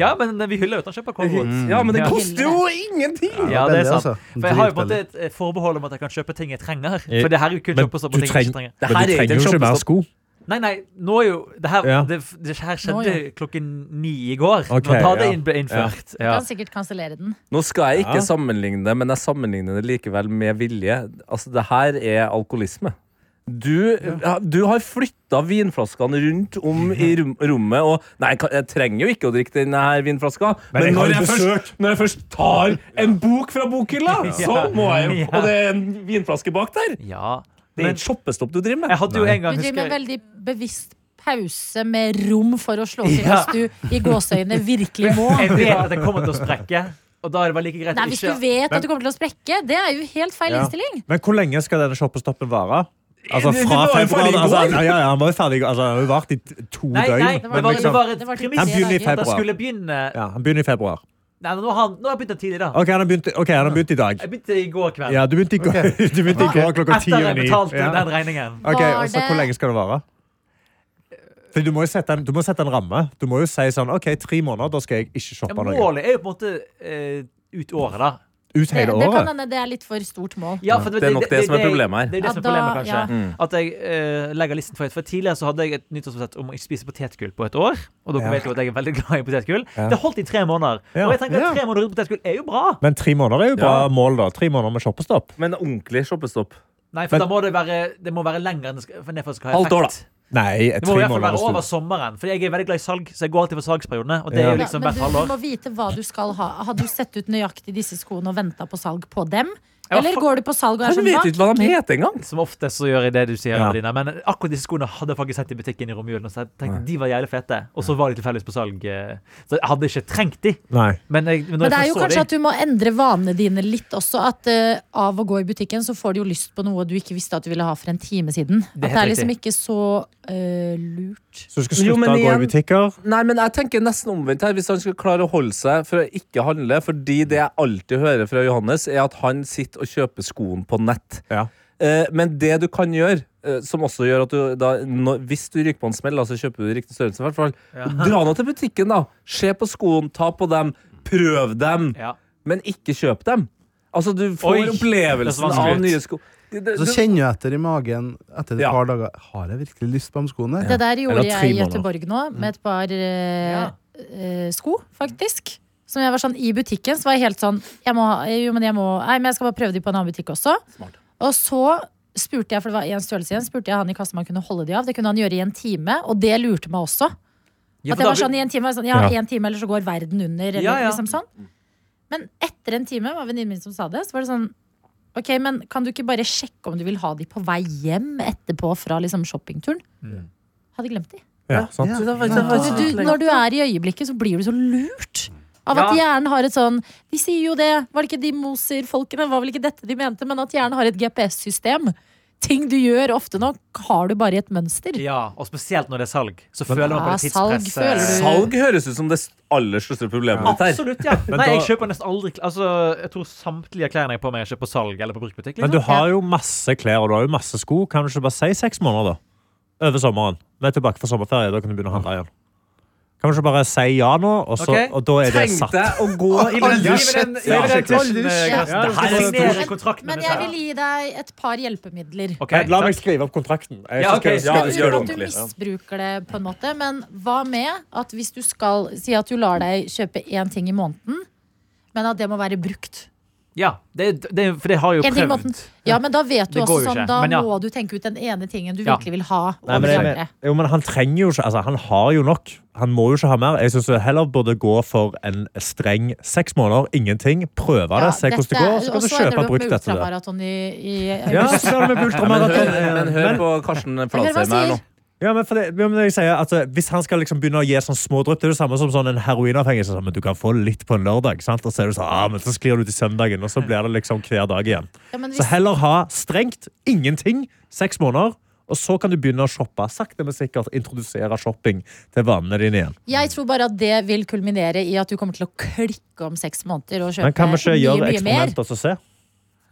S6: Ja, men vi hyller jo at han kjøper kålrot.
S5: Ja, men det
S6: Ja.
S5: koster jo ingenting!
S6: Ja, det er
S4: Veldig,
S6: sant.
S4: altså.
S6: For jeg har jo på en
S4: Dritbillig.
S6: måte et eh, forbehold om at jeg kan kjøpe ting jeg trenger. For det her er jo kun
S7: Men
S6: kjøpestopp
S7: du
S6: og ting jeg ikke
S7: treng-
S6: Eh, trenger.
S5: Det
S7: Men
S5: her
S7: du
S5: er
S7: trenger
S5: ikke
S7: jo ikke
S5: en
S7: mer
S5: shoppestopp.
S7: sko.
S6: Nei, nei, nå er jo Det her,
S7: Ja.
S6: det, det her
S2: Nå,
S6: skjedde
S2: ja.
S6: klokken ni i går.
S7: Ok,
S6: Når da det
S7: ja.
S6: inn- ble innført. Ja.
S2: Kan sikkert kansellere den.
S5: Nå skal jeg ikke
S7: Ja.
S5: sammenligne det, men jeg sammenligner det likevel med vilje. Altså, det her er alkoholisme. Du, du har flytta vinflaskene rundt om i rom, rommet, og Nei, jeg kan- jeg trenger jo ikke å drikke denne her vinflaska, men,
S7: jeg har
S5: når,
S7: jo
S5: jeg først,
S7: besøk.
S5: når jeg først tar en bok fra bokhylla, så må jeg jo Og det er en vinflaske bak der!
S6: ja.
S5: Det er
S6: Men
S5: ikke shoppestopp du driver med.
S6: jeg hadde jo en
S2: Du
S6: gang
S2: driver med en
S6: husker, jeg-
S2: veldig bevisst pause med rom for å slå til
S6: Ja.
S2: hvis du i gåseøynene virkelig må.
S6: Jeg vet at jeg kommer til å sprekke, og da er det bare like greit
S2: Nei,
S6: å
S2: Hvis du
S6: ikke
S2: vet at du kommer til å sprekke, det er jo helt feil innstilling.
S7: Men hvor lenge skal denne shoppestoppen vare? Altså
S5: Det- det
S7: fra
S5: var jo ferdig i
S7: februar?
S5: går.
S7: Altså, ja, ja, han var jo ferdig i går. altså, Han har jo vart i t- to
S6: Nei,
S7: døgn.
S6: nei, det
S2: Det
S6: var,
S7: men
S2: bare-
S7: liksom,
S6: det var et
S2: Det var til
S6: premiss.
S7: Han begynner i
S2: dager.
S6: Det
S7: februar.
S6: skulle begynne
S7: ja, han begynner i februar.
S6: Nei, nå har, han- nå har jeg begynt tidlig, da.
S7: OK, han har begynt, ok, han har begynt i dag.
S6: Jeg begynte i går kveld.
S7: Ja, du begynte i går, du begynte i går klokka ti
S6: Etter
S7: og
S6: jeg
S7: ni.
S6: betalte
S7: Ja.
S6: den regningen.
S7: Ok,
S2: Var
S7: og så Hvor
S2: det-
S7: lenge skal det vare? Fordi du må jo sette en, du må sette en ramme. Du må jo si sånn OK, tre måneder, da skal jeg ikke
S6: Ja,
S7: shoppe noe.
S6: Målet er jo på en måte eh, ut året, da.
S7: Ut
S2: Det,
S7: hele
S2: det kan
S7: året.
S2: hende det er litt for stort mål.
S6: Ja, for du vet,
S5: Det er nok det som er problemet her. Mm.
S6: Det er det
S2: Ja,
S6: som er
S2: da-
S6: problemet, kanskje.
S2: ja.
S6: At jeg eh, legger listen for høyt. For tidligere så hadde jeg et nyttårsforsett om å ikke spise potetgull på et år. Og dere
S7: Ja.
S6: vet jo at jeg er veldig glad i potetgull.
S7: Ja.
S6: Det holdt i tre måneder.
S7: Ja.
S6: Og jeg tenker
S7: Ja.
S6: at tre måneder uten potetgull er jo bra.
S7: Men tre måneder er jo bra
S5: Ja.
S7: mål, da. Tre måneder med shoppestopp.
S5: Men ordentlig shoppestopp.
S6: Nei, for
S7: Men-
S6: da må det være Det må være lenger enn det skal, for det skal ha
S5: Halvt år, da.
S6: effekt.
S7: Nei,
S6: Det
S7: tre
S6: må i hvert fall
S7: måneder.
S6: være
S7: er
S6: over
S7: stort.
S6: sommeren. For jeg er veldig glad i salg, så jeg går alltid for salgsperiodene. Og det
S7: Ja.
S6: er jo
S2: Ja,
S6: liksom
S2: men
S6: hvert
S2: du, du
S6: halvår.
S2: må vite hva du skal ha. Har du sett ut nøyaktig disse skoene og venta på salg på dem?
S6: Ja,
S2: Eller
S6: for-
S2: går du på salg og er
S5: Han
S2: sånn
S5: vet jo
S2: hva?
S5: ikke hva de heter engang!
S6: Som ofte så gjør jeg det du sier,
S7: Ja.
S6: Adelina. Men akkurat disse skoene hadde jeg faktisk sett i butikken i romjulen. Og så jeg tenkte de var jævlig fete. Og så var de tilfeldigvis på salg. eh, Så jeg hadde ikke trengt de.
S7: Nei.
S6: Men, jeg, men, når
S2: Men det er jo
S6: jeg først så
S2: kanskje
S6: de-
S2: at du må endre vanene dine litt også. At eh, av å gå i butikken så får du jo lyst på noe du ikke visste at du ville ha for en time siden.
S6: er
S2: Det at det
S6: helt
S2: er liksom
S6: riktig.
S2: ikke så eh, lurt.
S7: Så du skal
S5: Jo,
S7: slutte
S5: men
S7: å gå
S5: igjen-
S7: i butikker?
S5: Nei, men jeg tenker nesten omvendt her. Hvis han skal klare å holde seg for å ikke handle, fordi det jeg alltid hører fra Johannes, er at han sitter og kjøper skoen på nett.
S7: Ja.
S5: Eh, men det du kan gjøre, eh, som også gjør at du da, når, Hvis du ryker på en smell, da, så kjøper du riktig størrelse, i hvert fall. Dra nå til butikken, da. Se på skoen, ta på dem, prøv dem,
S6: ja.
S5: men ikke kjøp dem. Altså, du får
S6: Oi, det så
S5: opplevelsen
S6: vanskelig
S5: av
S6: ut.
S5: nye sko. Det- det-
S4: Så
S5: det-
S4: kjenner jeg etter i magen etter et
S5: Ja.
S4: par dager Har jeg virkelig lyst på de skoene?
S2: Det der gjorde
S7: Eller
S2: jeg i
S7: trimmer, da.
S2: Gøteborg nå, med et par eh,
S6: Ja.
S2: eh, sko, faktisk. Som jeg var sånn, I butikken så var jeg helt sånn jeg må, ha- Jo, men jeg må Nei, men jeg skal bare prøve de på en annen butikk også. Og så spurte jeg, for det var én størrelse igjen, spurte jeg han i kassa om han kunne holde de av. Det kunne han gjøre i en time, og det lurte meg også.
S6: Ja,
S2: At
S6: for
S2: jeg
S6: da-
S2: var sånn i en time, var jeg sånn, ja,
S7: Ja.
S2: en time, eller så går verden under. Eller,
S6: Ja, Mm. ja.
S2: Liksom sånn. Men etter en time var venninnen min som sa det. Så var det sånn Ok, men kan du ikke bare sjekke om du vil ha de på vei hjem etterpå fra liksom shoppingturen? Hadde glemt de. Altså,
S7: Ja, sant?
S5: det var- det var-
S2: Du, du, når du er i øyeblikket, så blir du så lurt. Av at
S6: Ja.
S2: hjernen har et sånn De sier jo det. Var det ikke de Moser-folkene? Var vel ikke dette de mente? Men at hjernen har et GPS-system. Ting du gjør ofte nok, har du bare i et mønster.
S6: ja, og spesielt når det er salg. Så føler man på
S2: Ja,
S6: det
S2: salg
S6: tidspresset.
S2: føler du-
S5: Salg høres ut som det aller største problemet ditt her.
S6: Absolutt, ja. Nei,
S7: da-
S6: jeg kjøper nesten aldri kl- Altså, jeg tror samtlige klærne jeg har på meg, jeg kjøper på salg eller på bruktbutikk.
S7: Men du
S6: Liksom.
S7: har jo masse klær og du har jo masse sko. Kan du ikke bare si seks måneder, da? Over sommeren. Vi er tilbake fra sommerferie, da kan du begynne å handle igjen. Kan du ikke bare si ja nå, og, så,
S6: Ok.
S7: og da er det
S5: Tenk
S7: satt?
S5: deg å gå i
S6: Ja,
S5: den
S6: gi meg den- gi meg den
S7: Ja,
S6: tusen,
S4: aldri
S6: eh,
S4: skjedd.
S6: Karsten.
S7: Ja,
S6: Det her
S5: det
S6: er
S5: er
S6: signere
S2: stort.
S6: kontrakten
S2: Men
S6: med
S2: jeg
S6: dette.
S2: vil gi deg et par hjelpemidler.
S6: Ok,
S7: Nei, La meg
S6: takk.
S7: skrive opp kontrakten. Jeg skal
S6: Ja, ok.
S7: skrive-
S5: Ja,
S2: Jeg
S5: gjør
S2: skjønner
S5: det
S2: at du
S5: ordentlig.
S2: misbruker det på en måte, men hva med at hvis du skal si at du lar deg kjøpe én ting i måneden, men at det må være brukt?
S6: Ja, det, det, for det har jeg jo
S2: En ting i
S6: prøvd.
S2: måneden. Ja, men da vet du
S6: Det går
S2: også
S6: jo
S2: sånn,
S6: ikke,
S2: da
S6: men ja.
S2: må du tenke ut den ene tingen du
S6: Ja.
S2: virkelig vil ha.
S7: Nei,
S2: over
S7: men, jeg,
S2: andre.
S7: men- jo, men han trenger jo ikke altså, Han har jo nok. Han må jo ikke ha mer. Jeg syns heller burde gå for en streng seks måneder, ingenting. Prøve det, se hvordan det går, så kan du kjøpe brukt etter det.
S2: Ultramaraton i, i
S7: Ja, så skal du med
S5: Ja, men, hør,
S7: ultramaraton.
S5: men hør på Karsten
S2: hva han
S5: Fladsheim her nå.
S2: sier.
S7: Ja, men for det, men jeg sier at eh, Hvis han skal liksom begynne å gi sånn små drypp, det er det samme som sånn en heroinavhengig. som sier, men du kan få litt på en lørdag, sant? og så er du sånn, ah, men så sklir du til søndagen, og så blir det liksom hver dag igjen.
S2: Ja, men
S7: Så
S2: hvis,
S7: heller ha strengt ingenting seks måneder, Og så kan du begynne å shoppe. Sakte, men sikkert introdusere shopping til vanene dine igjen.
S2: Jeg tror bare at det vil kulminere i at du kommer til å klikke om seks måneder og
S7: Men
S2: kjøpe
S7: kan vi ikke
S2: mye,
S7: gjøre
S2: mye mer.
S7: eksperimenter og se?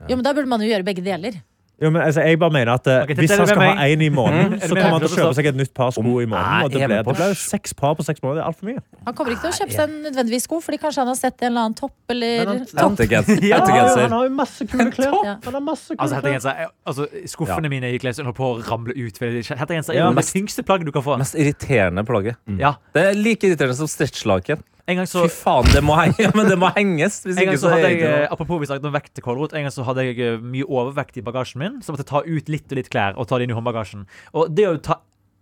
S2: Jo, men Da burde man jo gjøre begge deler.
S7: Jo, men altså, jeg bare mener at eh,
S6: Ok, dette
S7: Hvis
S6: er
S7: han
S6: det
S7: skal
S6: med
S7: ha
S6: meg.
S7: én i måneden,
S6: Mhm.
S7: så kommer han til å kjøpe seg et nytt par sko i
S5: Nei,
S7: måneden. Og det ble,
S5: jeg er
S7: det
S5: med på
S7: ble
S5: det.
S7: seks par på seks måneder. Det er altfor mye.
S2: Han kommer ikke til å kjøpe seg en nødvendigvis sko, fordi kanskje han har sett en eller annen topp eller
S6: Men han-
S2: topp.
S5: Hettegenser.
S7: Ja, Ah, han
S5: Hettegenser.
S7: har jo masse kule klær.
S2: Ja.
S7: Han har masse kule
S6: Altså,
S7: klær.
S6: hettegenser er- altså, Skuffene mine i klesveien holdt på å ramle ut. fordi det- Hettegenser er
S5: Ja,
S6: jo det
S5: mest-
S6: tyngste plagget du kan få.
S5: Mest irriterende plagget.
S6: Ja,
S5: Det er like irriterende som stretchlaken.
S6: en gang så
S5: Fy faen, det må, henge, ja, men det må henges! Hvis
S6: en gang
S5: ikke
S6: så
S5: så er
S6: hadde
S5: det
S6: jeg,
S5: ikke
S6: eh, apropos vi snakket om vekt til kålrot, en gang så hadde jeg eh, mye overvekt i bagasjen min, så jeg måtte ta ut litt og litt klær og ta det inn i håndbagasjen. Og det å ta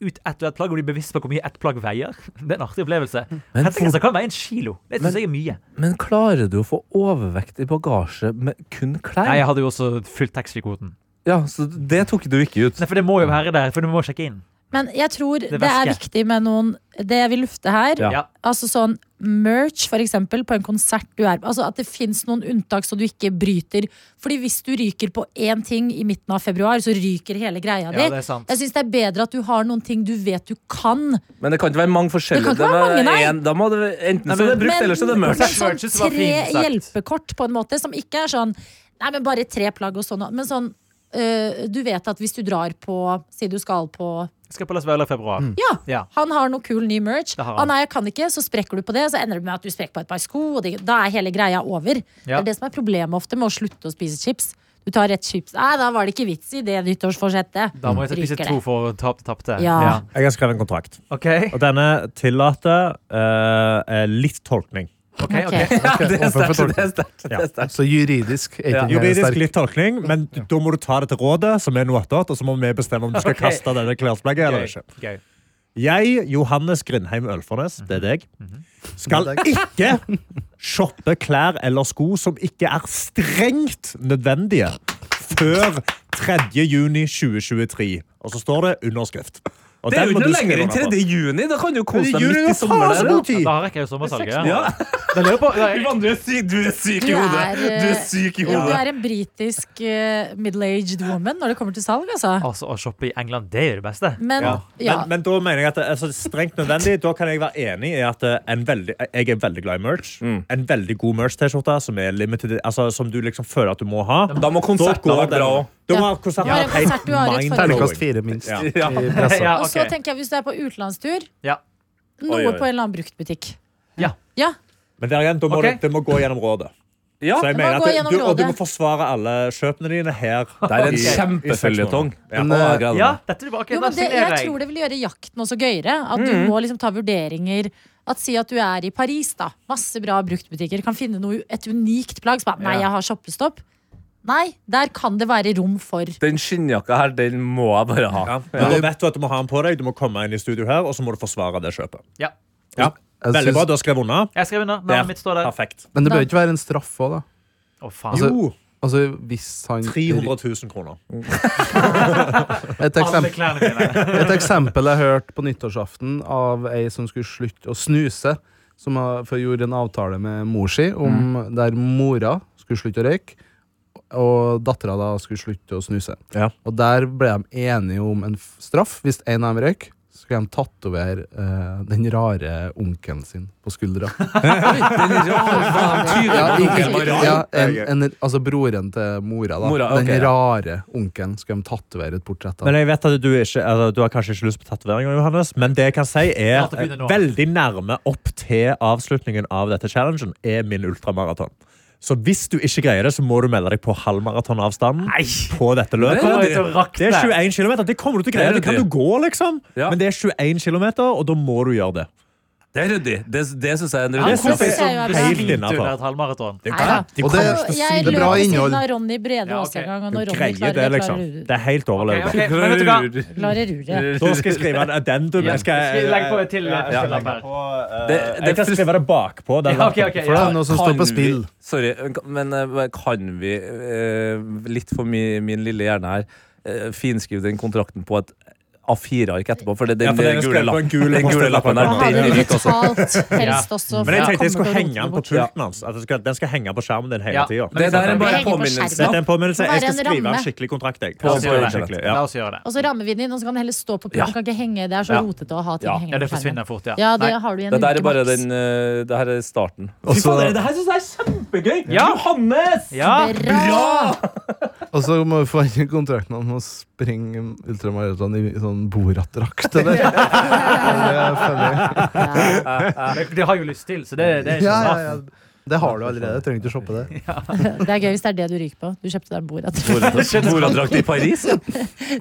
S6: ut ett og ett plagg og bli bevisst på hvor mye ett plagg veier, det er en artig opplevelse. Hettegenser kan veie en kilo. Det syns jeg er mye.
S5: noe. Men klarer du å få overvekt i bagasje med kun klær?
S6: Nei, jeg hadde jo også fulgt taxfree-kvoten.
S5: Ja, så det tok du ikke ut.
S6: Nei, for det må jo være der, for du må sjekke inn.
S2: Men jeg tror det,
S6: Det
S2: er
S6: verste.
S2: viktig med noen Det jeg vil lufte her,
S5: Ja.
S6: Ja.
S2: altså sånn merch for eksempel på en konsert du er på. Altså at det fins noen unntak så du ikke bryter. Fordi hvis du ryker på én ting i midten av februar, så ryker hele greia di.
S6: Ja, det er sant.
S2: jeg syns det er bedre at du har noen ting du vet du kan.
S5: Men det kan ikke være mange forskjellige.
S2: Det kan ikke være mange,
S5: må-
S2: nei.
S5: en- da må det, enten så er det brukt,
S2: Men-
S5: eller så er det mørkt.
S2: men
S6: Merches
S2: sånn
S6: var
S2: tre
S6: fint sagt.
S2: hjelpekort, på en måte, som ikke er sånn Nei, men bare tre plagg og sånn, men sånn øh, du vet at hvis du drar på Si du skal på
S6: Jeg skal på Las Vegas i februar.
S5: Mm.
S2: Ja!
S6: Ja.
S2: Han har noe kul ny merch.
S6: Det har
S2: Å
S6: han.
S2: nei, jeg kan ikke, så sprekker du på det, og så ender det med at du sprekker på et par sko, og det, da er hele greia over. Det
S6: Ja.
S2: er det som er problemet ofte med å slutte å spise chips. Du tar rett chips. Nei, da var det ikke vits i det nyttårsforsettet.
S6: Da må jeg spise
S2: Ryker Mm. det.
S6: to for å tape det tapte.
S2: Ja.
S7: Jeg har skrevet en kontrakt.
S6: OK.
S7: Og denne tillater eh, eh, litt tolkning.
S6: ok,
S2: Ok.
S6: ok.
S5: Ja, det
S4: Overfor
S5: er sterkt. Det er
S4: tolken.
S5: sterkt. Det
S7: Ja.
S5: er sterkt.
S4: Så juridisk er ikke engang
S7: Juridisk
S4: sterk.
S7: litt tolkning, men da må du ta det til rådet, som er noe attåt, og så må vi bestemme om du skal
S6: Ok.
S7: kaste denne klesplagget eller ikke.
S6: Gøy. Gøy.
S7: Jeg, Johannes Grindheim Ølfornes, det er deg,
S5: Mhm.
S7: skal ikke shoppe klær eller sko som ikke er strengt nødvendige før 3. juni 2023. Og så står det underskrift. Og
S5: Det er
S7: den må
S5: jo ikke
S7: du
S5: noe
S7: skrive
S5: lenger enn
S7: under på.
S5: 3. juni! Da kan du jo
S7: Men
S5: kose
S7: i
S5: deg
S7: juni
S5: midt i
S7: er det faen
S5: sommeren.
S7: så
S5: da.
S7: god tid!
S6: Da rekker jeg jo sommersalget.
S5: Ja.
S6: Da lurer jeg på- da-
S5: Ivan, du er syk, du er syk
S2: Du
S5: i hodet!
S2: er, eh,
S5: Du er syk
S2: Ja,
S5: i
S2: du
S5: hodet.
S2: er en britisk eh, middle-aged woman når det kommer til salg, altså.
S6: Altså, å shoppe i England, det er jo det beste.
S2: Men ja.
S7: Men, men da mener jeg at det er så strengt nødvendig. Da kan jeg være enig i at eh, en veldig, jeg er veldig glad i merch.
S5: Mm.
S7: En veldig god merch-T-skjorte som er limited, altså, som du liksom føler at du må ha.
S5: Da må konserten ha vært bra òg.
S7: Da må
S2: Ja.
S7: konserten
S2: Ja,
S7: ha
S2: en
S7: vært
S2: konsert du har rett
S7: helt
S2: foran.
S4: Terningkast
S7: mind-blowing.
S4: fire, minst.
S7: Ja.
S5: Ja.
S4: I pressa.
S6: Ja,
S2: Og så
S6: ok.
S2: tenker jeg hvis du er på utenlandstur,
S6: Ja.
S2: noe
S5: Oi, oi.
S2: på en eller annen bruktbutikk.
S6: Ja.
S2: ja.
S7: Men der igjen, da må
S6: Ok.
S7: det, det må gå gjennom rådet.
S5: Ja,
S7: Så jeg
S2: det må
S7: mener
S2: gå
S7: at
S2: gjennom
S7: det, du, og du
S2: rådet.
S7: må forsvare alle kjøpene dine her.
S5: det er en
S7: i- i seks
S5: kjempeføljetong.
S7: måneder.
S5: eh,
S7: Ja.
S5: Ja, å, jeg gleder
S6: ja,
S5: meg.
S6: dette er bare, ok,
S2: Jo,
S6: da
S2: men det,
S6: signerer
S2: jeg tror det vil gjøre jakten også gøyere. At du må liksom ta vurderinger. At Si at du er i Paris. da Masse bra bruktbutikker. Kan finne noe, et unikt plagg. Så bare, nei,
S6: Ja.
S2: jeg har shoppestopp. Nei, der kan det være rom for
S5: Den skinnjakka her, den må jeg bare ha.
S7: Men da vet du at du må ha den på deg, du må komme inn i studio her, og så må du forsvare det kjøpet.
S6: Ja.
S7: Ja.
S4: Jeg
S7: Veldig
S4: syns-
S7: bra, du har skrevet unna.
S6: Jeg skrev under.
S7: Der.
S6: Navnet mitt står der. Å,
S7: Perfekt.
S4: Men det
S2: Da-
S4: bør ikke være en straff òg, da.
S6: faen.
S4: Altså,
S7: Jo,
S4: Altså, hvis han
S7: 300 000 kroner.
S4: Et
S6: Alle
S4: eksempel,
S6: klærne mine.
S4: et eksempel jeg hørte på nyttårsaften av ei som skulle slutte å snuse, som har- for gjorde en avtale med mor si om
S5: Mm.
S4: der mora skulle slutte å røyke, og dattera da skulle slutte å snuse.
S7: Ja.
S4: Og der ble de enige om en f- straff. Hvis en av dem røyk, så skulle de tatovere eh, den rare onkelen sin på skuldra. Ja, ikke, ja, en, en, altså broren til mora, da.
S5: Mora, ok,
S4: den
S5: ja.
S4: rare onkelen skulle de tatovere et portrett av.
S7: Men jeg vet at du, ikke, altså, du har kanskje ikke lyst på tatoveringer, Johannes, men det jeg kan si er
S6: Snart å begynne nå.
S7: veldig nærme opp til avslutningen av dette challengen er min ultramaraton. Så hvis du ikke greier det, så må du melde deg på halvmaratonavstanden på dette løpet.
S6: Kommer jeg til å rakne?
S7: Det er 21 km. Det kommer du til å greie.
S5: Det er
S7: Det kan
S5: det.
S7: du gå, liksom.
S5: Ja.
S7: Men det er 21 km, og da må du gjøre det.
S5: Det er ryddig. Det, det syns jeg er en
S2: Han
S5: ryddig
S7: synes
S2: koser
S7: jeg
S2: seg jo.
S7: er
S2: altså.
S7: helt
S6: Litt
S7: innafor.
S6: under et halvmaraton.
S7: Det, er
S2: Nei da.
S7: klart, de
S4: Og det-
S7: kommer til å
S2: Jeg løp
S7: si
S4: det er
S7: bra.
S4: bra
S2: ved
S4: innhold.
S2: siden av Ronny Brede
S6: Ja, ok.
S2: Aase en gang, og
S7: Du
S2: når Ronny
S7: greier
S2: klarer
S7: det,
S2: det,
S7: liksom.
S2: klarer du
S7: Det er helt
S6: Ok,
S7: overlevelig.
S6: ok, men vet du hva?
S5: Det,
S2: klarer ruret.
S7: Da skal jeg skrive en addendum.
S6: Ja,
S7: Jeg skal,
S6: skal vi legge på et til-
S7: Ja, jeg
S6: Ja,
S7: skal
S6: ja.
S7: legge på, eh,
S5: Det- det
S7: jeg kan
S5: frus-
S7: skrive det bakpå. den
S6: Ja, ok,
S7: lappen.
S6: ok,
S4: For det
S6: ja.
S4: er noe som
S5: Kan
S4: står på spill.
S5: Vi, sorry, men eh, kan vi, eh, litt for mi, min lille hjerne her, eh, finskrive den kontrakten på et A4-ark etterpå. For det, den,
S3: Ja, for den er
S5: gule,
S3: skrevet på en
S5: lapp,
S3: gul
S5: den gule lappen
S2: Og
S5: der,
S2: hadde
S5: den
S2: du
S5: er rik, altså.
S2: betalt helst også. for
S7: Men jeg
S2: det
S7: tenkte
S2: kommer til
S7: jeg skulle
S2: å
S7: henge den
S2: rote
S7: på
S2: bort.
S7: pulten hans. At det skal, den skal henge på skjermen din hele
S6: Ja.
S7: tida.
S6: Men
S5: Det der er
S6: Det
S5: bare
S2: henger på
S5: påminnelsen.
S2: skjermen.
S7: Dette er en påminnelse.
S2: Det må
S7: Jeg
S2: være
S7: skal
S2: en
S7: skrive en
S2: ramme.
S7: skikkelig kontrakt. Jeg. Jeg
S5: Ja, det
S7: skal
S5: er
S7: gjøre det
S5: skikkelig,
S7: skikkelig,
S6: La
S7: ja.
S6: oss gjøre det.
S2: Og så rammer vi den inn, og så kan den heller stå på pulten.
S5: Ja.
S2: Den Kan ikke henge, det er så
S5: Ja.
S2: rotete å ha ting
S5: Ja.
S2: hengende
S6: Ja, det
S2: på skjermen.
S6: forsvinner fort, ja.
S2: Ja, det
S6: Nei.
S2: har du i en
S5: Det der er
S2: uke
S5: bare
S2: maks.
S5: den eh, Det her er starten.
S4: Og så-
S5: her syns jeg er kjempegøy!
S6: Ja.
S5: Johannes!
S6: Ja,
S2: Bra!
S4: Og så må vi få inn kontrakten om å springe ultramaraton i sånn borattdrakt. Det der. Det føler jeg.
S2: Ja.
S6: det, det har jeg jo lyst til, så det, det er ikke
S4: Ja,
S6: så
S4: ja,
S6: rart.
S4: ja. Det har du allerede. Trenger ikke shoppe det.
S2: Det er gøy hvis det er det du ryker på. Du kjøpte deg en bord.
S5: Boradrakt i Paris. ja.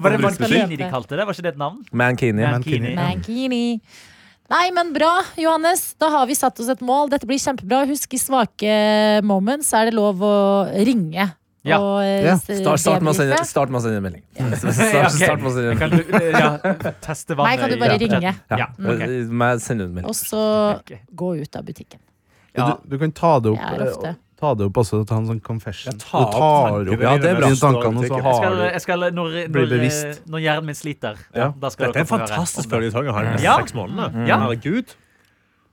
S6: Var det
S5: Bruksbutikk.
S6: Mankini de kalte det? Var ikke det et navn?
S5: Mankini.
S6: Mankini.
S2: Mankini. Nei, men bra, Johannes. Da har vi satt oss et mål. Dette blir kjempebra. Husk, i svake moments er det lov å ringe.
S6: Ja.
S2: Og, eh,
S4: Ja.
S2: se-
S5: Start, start, med å sende,
S2: debriefe.
S5: start med å sende en melding.
S6: Ja,
S5: Start,
S6: ok.
S5: start med å sende en
S6: Kan du ja, teste vannet?
S2: Nei, kan du bare
S6: i-
S2: ringe?
S5: Ja. Eh,
S6: Ja, ok.
S5: Må jeg sende en melding.
S2: Og så
S6: Ok.
S2: gå ut av butikken.
S6: Ja.
S4: Du, du kan ta det opp.
S2: Det er ofte.
S4: eh, Ta det opp også, ta en sånn confession.
S7: Ja,
S4: Du
S7: ta opp
S4: tar
S7: tankene
S4: opp
S7: dine
S4: ja, det er bra.
S7: når
S4: dine
S7: du står
S4: tankene, og
S7: og
S4: så
S7: tenker.
S6: Jeg skal,
S4: har du
S6: jeg skal når, når, eh,
S4: Bli bevisst.
S6: når hjernen min sliter,
S7: Ja.
S6: da skal
S7: Dette er
S6: dere
S7: en
S6: få høre
S7: fantastisk
S6: om det.
S7: føljetong å ha i nesten
S6: Ja.
S7: seks måneder.
S6: Ja.
S7: Herregud.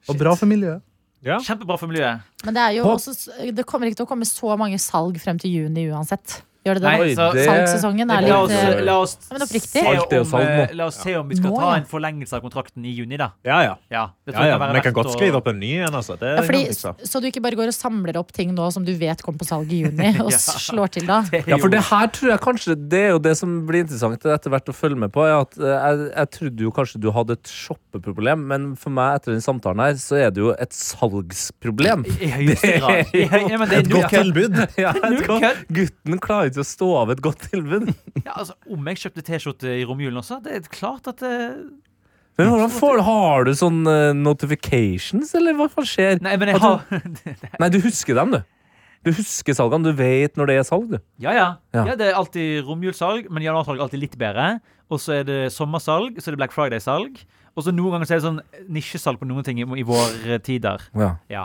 S4: Og bra for miljøet.
S6: Kjempebra for miljøet.
S2: Men det, er jo også, det kommer ikke til å komme så mange salg frem til juni uansett. Gjør det det?
S6: Nei, så-
S5: det-
S2: Salgssesongen er
S6: La oss,
S2: litt eh,
S6: la oss,
S2: men oppriktig.
S6: se,
S5: Alt er jo
S6: om,
S5: salg nå.
S6: eh, la oss se om vi skal
S2: Nå,
S6: ta
S2: ja.
S6: en forlengelse av kontrakten i juni, da.
S7: Ja, ja.
S6: Ja,
S7: ja, ja.
S6: det tror jeg kan være
S7: Men jeg kan
S6: verdt
S7: godt
S6: å-
S7: skrive opp en ny en. Altså. Det
S2: ja, fordi,
S7: kan jeg fikse.
S2: så du ikke bare går og samler opp ting nå som du vet kommer på salg i juni, og
S6: Ja.
S2: slår til da?
S5: Ja, for det her tror jeg kanskje Det er jo det som blir interessant etter hvert å følge med på. Er at eh, jeg, jeg trodde jo kanskje du hadde et shoppeproblem, men for meg etter den samtalen her, så er det jo et salgsproblem.
S6: I høyeste grad. I høy, ja, men det er null-
S7: tilbud.
S5: Ja,
S6: Null
S5: et godt,
S6: kødd.
S5: gutten klarer ikke å stå av et godt tilbud.
S6: Ja, altså, om jeg kjøpte T-skjorte i romjulen også, det er klart at eh,
S5: Men hvordan får, Har du sånn eh, notifications, eller hva faen skjer?
S6: Nei, men jeg
S5: At
S6: har
S5: Nei, du husker dem, du. Du husker salgene. Du vet når det er salg, du.
S6: Ja, ja.
S5: Ja.
S6: ja det er alltid romjulssalg, men januarsalg er alltid litt bedre. Og så er det sommersalg, så er det Black Friday-salg. Og så noen ganger så er det sånn nisjesalg på noen ting i, i våre tider.
S5: Ja.
S6: Ja.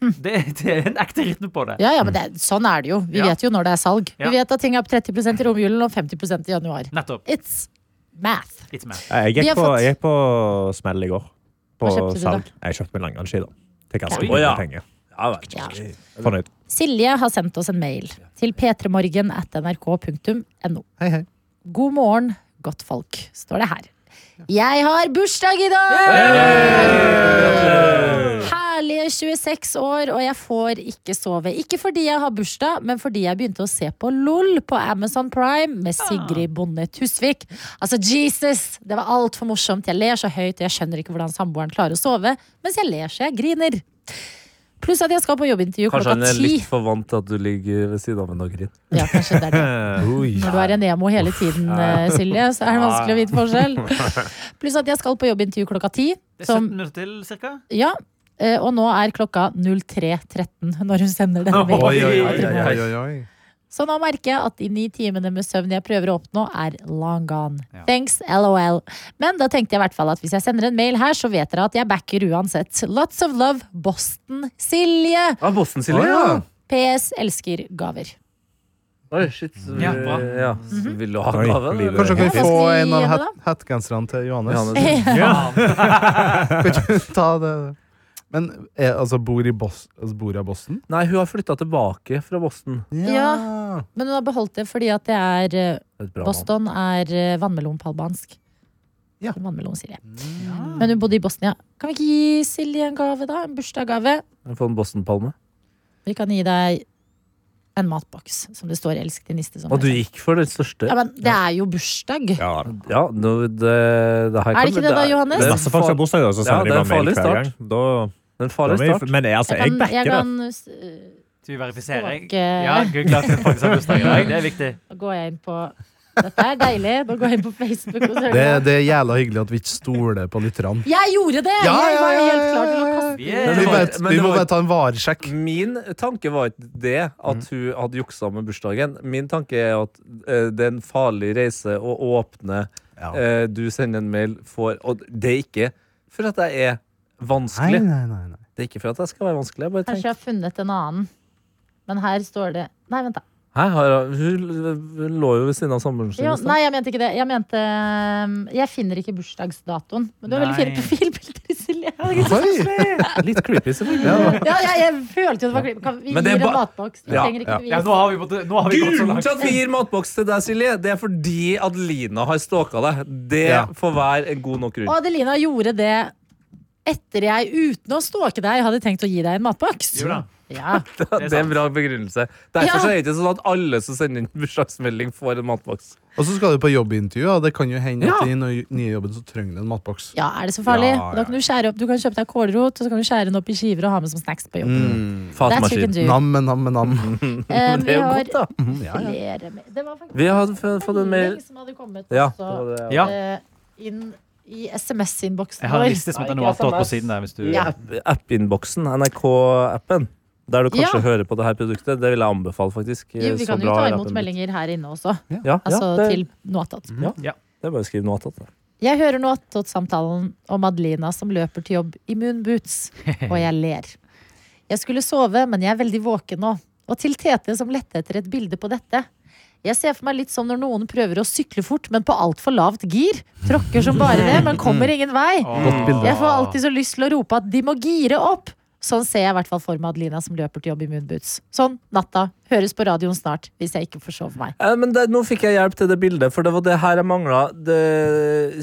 S6: Det, det er en ekte rytme på det.
S2: Hm. Ja, ja, men det, er- sånn er det jo. Vi
S6: Ja.
S2: vet jo når det er salg.
S6: Ja.
S2: Vi vet at ting er opp 30 i romjulen og 50 i januar.
S6: Nettopp.
S2: It's math.
S6: Litt mer.
S7: Jeg
S2: Vi har
S7: gikk, på,
S2: fått-
S7: jeg gikk på smell i går. På
S2: Hva kjøpte du da?
S7: salg. Jeg kjøpte meg langrennsski, da. Til ganske
S5: Oi. Å, ja.
S7: mye penger.
S5: Ja, vel.
S2: Ja.
S7: Fornøyd.
S2: Silje har sendt oss en mail til p3morgen at nrk.no.
S4: Hei, hei.
S2: God morgen, godt folk, står det her. Jeg har bursdag i dag! Herlige 26 år, og jeg får ikke sove. Ikke fordi jeg har bursdag, men fordi jeg begynte å se på LOL på Amazon Prime med Sigrid Bonde Tusvik. Altså, Jesus! Det var altfor morsomt. Jeg ler så høyt, og jeg skjønner ikke hvordan samboeren klarer å sove, mens jeg ler så jeg griner. Pluss at jeg skal på jobbintervju
S5: Kanskje han
S2: klokka
S5: er
S2: ti.
S5: litt for vant til at du ligger ved siden av en og griner.
S2: Ja, kanskje det er det. Når du er en emo hele tiden, eh, Silje, så er det vanskelig å vite forskjell. Pluss at jeg skal på jobbintervju klokka ti.
S6: Det er 17
S2: Som,
S6: minutter til, cirka.
S2: ja, eh, og nå er klokka 03.13 når hun sender denne
S6: Oi,
S4: Oi,
S2: mailen.
S4: oi, oi, oi, oi, oi.
S2: Så nå merker jeg at de ni timene med søvn jeg prøver å oppnå, er long gone.
S6: Ja.
S2: Thanks, lol. Men da tenkte jeg i hvert fall at hvis jeg sender en mail her, så vet dere at jeg backer uansett. Lots of love, Boston, Silje.
S5: Ah, Boston, Silje?
S4: ja.
S2: PS elsker gaver.
S5: Oi, shit.
S6: Ja, bra.
S5: Ja. Så Vil du ha
S7: Oi,
S5: gave?
S7: livet.
S5: eller?
S4: Kanskje kan vi
S2: Ja, hva
S4: få
S2: skal vi
S4: en av
S2: gi henne,
S4: het hettegenserne til Johannes?
S2: Eh.
S5: Johannes.
S4: Ta det. Men er, altså, bor i Bos altså, bor jeg i Boston?
S5: Nei, hun har flytta tilbake fra Boston.
S2: Mm. Ja. Men hun har beholdt det fordi at det er eh,
S5: Et bra navn.
S2: Boston er eh, vannmelon på albansk.
S4: Ja. Mm.
S2: Vannmelon, sier jeg. Men hun bodde i Bosnia. Kan vi ikke gi Silje en gave, da? En bursdagsgave?
S5: Få en Boston-palme.
S2: Vi kan gi deg en matboks, som det står 'elsk din niste' som.
S5: Og du
S2: jeg sa.
S5: gikk for den største.
S2: Ja, men det er jo bursdag!
S7: Ja.
S5: Ja, nå, det, det her
S2: Er det ikke det da, Johannes?
S7: Det er masse folk som har bursdag, da, så
S5: Ja,
S7: sender
S5: det er
S7: de bare
S5: farlig
S7: mail hver
S5: start.
S7: gang. Da,
S5: Det er en
S7: da
S5: farlig
S7: er
S5: start.
S7: vi, men jeg, altså, jeg
S2: kan, jeg
S7: backer det.
S2: kan, øh,
S6: Du verifiserer.
S2: Ståke.
S6: Ja, gud, klart det er faktisk har bursdag i dag. Det er viktig.
S2: Da går jeg inn på Dette er deilig. Nå går jeg inn på Facebook og ser
S4: Det, det er jævla hyggelig at vi ikke stoler på lytterne.
S2: Jeg gjorde det!
S4: Ja,
S2: jeg var
S4: ja, ja,
S2: helt klar til å
S4: ja, ja.
S2: kaste
S6: Vi
S4: Vi,
S6: er,
S5: var-
S4: bare,
S5: men
S4: vi
S5: det
S4: må
S5: var-
S4: bare ta en varesjekk.
S5: Min tanke var ikke det at hun hadde juksa med bursdagen. Min tanke er at eh, det er en farlig reise å åpne. Eh, du sender en mail, får Og det er ikke for at jeg er vanskelig.
S4: nei, nei.
S5: Det er ikke for at jeg skal være vanskelig. Jeg bare
S2: Kanskje
S5: tenker
S2: jeg har funnet en annen. Men her står det Nei, vent, da.
S5: Hæ? Har- Hun lå jo ved siden av samboeren sin.
S2: Jo,
S5: i stad.
S2: nei, jeg mente ikke det. Jeg mente ehm, Jeg finner ikke bursdagsdatoen. Men du har veldig fine
S6: Nei.
S2: profilbilder, Silje.
S4: Oi! Litt creepy, selvfølgelig.
S2: Ja, jeg, jeg følte jo det var klipp. Kan Vi
S5: Men det
S2: gir
S5: er
S2: en
S5: ba-
S2: matboks. Vi
S5: Ja,
S2: trenger ikke
S4: ja.
S2: bevis.
S6: Ja, nå har vi, på- nå har vi gått så
S5: Grunnen til
S6: langt.
S5: at vi gir matboks til deg, Silje, det er fordi at Lina har stalka deg. Det
S4: Ja.
S5: får være en god nok grunn.
S2: Og Adelina gjorde det etter jeg, uten å stalke deg, hadde tenkt å gi deg en matboks.
S6: Jo da.
S2: Ja.
S5: Det er en bra begrunnelse. Derfor
S2: Ja.
S5: så er det ikke sånn at alle som sender inn bursdagsmelding, får en matboks.
S4: Og så skal du på jobbintervju, og det kan jo hende
S5: Ja.
S4: at i den nye jobben så trenger du en matboks.
S2: ja, er det så farlig?
S4: Ja, ja.
S2: Da kan du skjære opp Du kan kjøpe deg kålrot, og så kan du skjære den opp i skiver og ha med som snacks på jobben. That's you can do.
S4: Nam, nam, nam.
S2: Eh,
S5: Mm, Det
S2: vi
S5: er jo
S2: har
S5: godt, da.
S4: Mhm,
S2: flere med. Det var faktisk
S5: Vi har f- fått en mail
S2: melding som hadde kommet
S5: Ja,
S2: også,
S5: det var det.
S6: Ja.
S2: eh, inn i SMS-innboksen
S6: Jeg har en
S2: vår.
S6: liste som
S5: Nei,
S6: heter
S5: ikke
S6: noe attåt på
S5: SMS.
S6: siden der. Hvis du...
S5: I app- app-innboksen, NRK-appen, der du kanskje
S2: Ja.
S5: hører på det her produktet. Det vil jeg anbefale, faktisk.
S2: Jo, vi
S5: Så
S2: kan jo
S5: bra
S2: ta
S5: er
S2: imot
S5: appen.
S2: meldinger her inne også.
S5: Ja,
S2: Altså
S5: ja, det,
S2: til noe attåt.
S6: Ja.
S5: det er bare å skrive noe annet.
S2: Jeg hører nå attåt-samtalen om Adelina som løper til jobb i moonboots, og jeg ler. Jeg skulle sove, men jeg er veldig våken nå. Og til Tete som lette etter et bilde på dette. Jeg ser for meg litt som når noen prøver å sykle fort, men på altfor lavt gir. Tråkker som bare det, men kommer ingen vei.
S6: Godt bilde.
S2: Jeg får alltid så lyst til å rope at de må gire opp. Sånn ser jeg i hvert fall for meg Adelina som løper til jobb i moonboots. Sånn, natta. Høres på radioen snart, hvis jeg ikke forsover meg.
S5: Eh, Men det, nå fikk jeg hjelp til det bildet, for det var det her jeg mangla.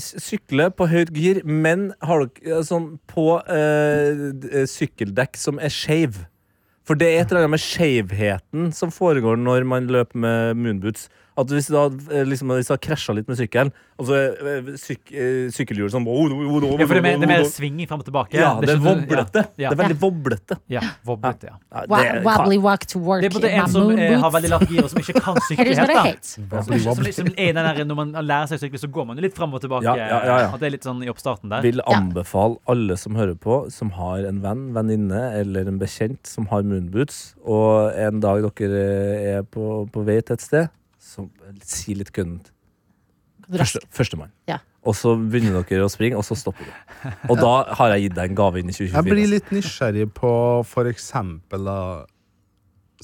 S5: Sykle på høyt gir, men har dere eh, sånn på eh, d- eh, sykkeldekk som er skeiv. For det er et eller annet med skeivheten som foregår når man løper med moonboots. At hvis du hadde, eh, liksom, hvis du hadde krasja litt med sykkelen, og så eh, syk, eh, sykkelhjulet sånn
S6: Ja, for det er mer, det er mer svinging fram og tilbake.
S5: Ja, det er
S6: ikke-
S5: voblete. Det er
S6: Ja, ja,
S5: veldig voblete.
S6: ja, voblete, ja.
S5: Ja,
S2: Wa
S5: det er-
S2: wobbly walk to work
S6: Det er på en måte
S2: in my
S6: en som eh, har
S2: moonboots.
S6: veldig lavt gir, og som ikke kan sykle
S2: Here's what I
S6: helt. da.
S2: hate.
S6: Som,
S5: altså.
S6: som liksom er den der, når man lærer seg å sykle, så går man jo litt fram og tilbake.
S5: Ja, ja, ja, ja.
S6: At det er litt sånn i oppstarten der.
S5: Vil anbefale alle som hører på, som har en venn, venninne eller en bekjent som har moonboots, og en dag dere eh, er på, på vei til et sted, så si litt køddent
S2: Raskt.
S5: Første- Førstemann.
S2: Ja.
S5: Og så begynner dere å springe, og så stopper du. Og da har jeg gitt deg en gave inn i
S4: Jeg
S5: 2024.
S4: blir litt nysgjerrig på for eksempel da,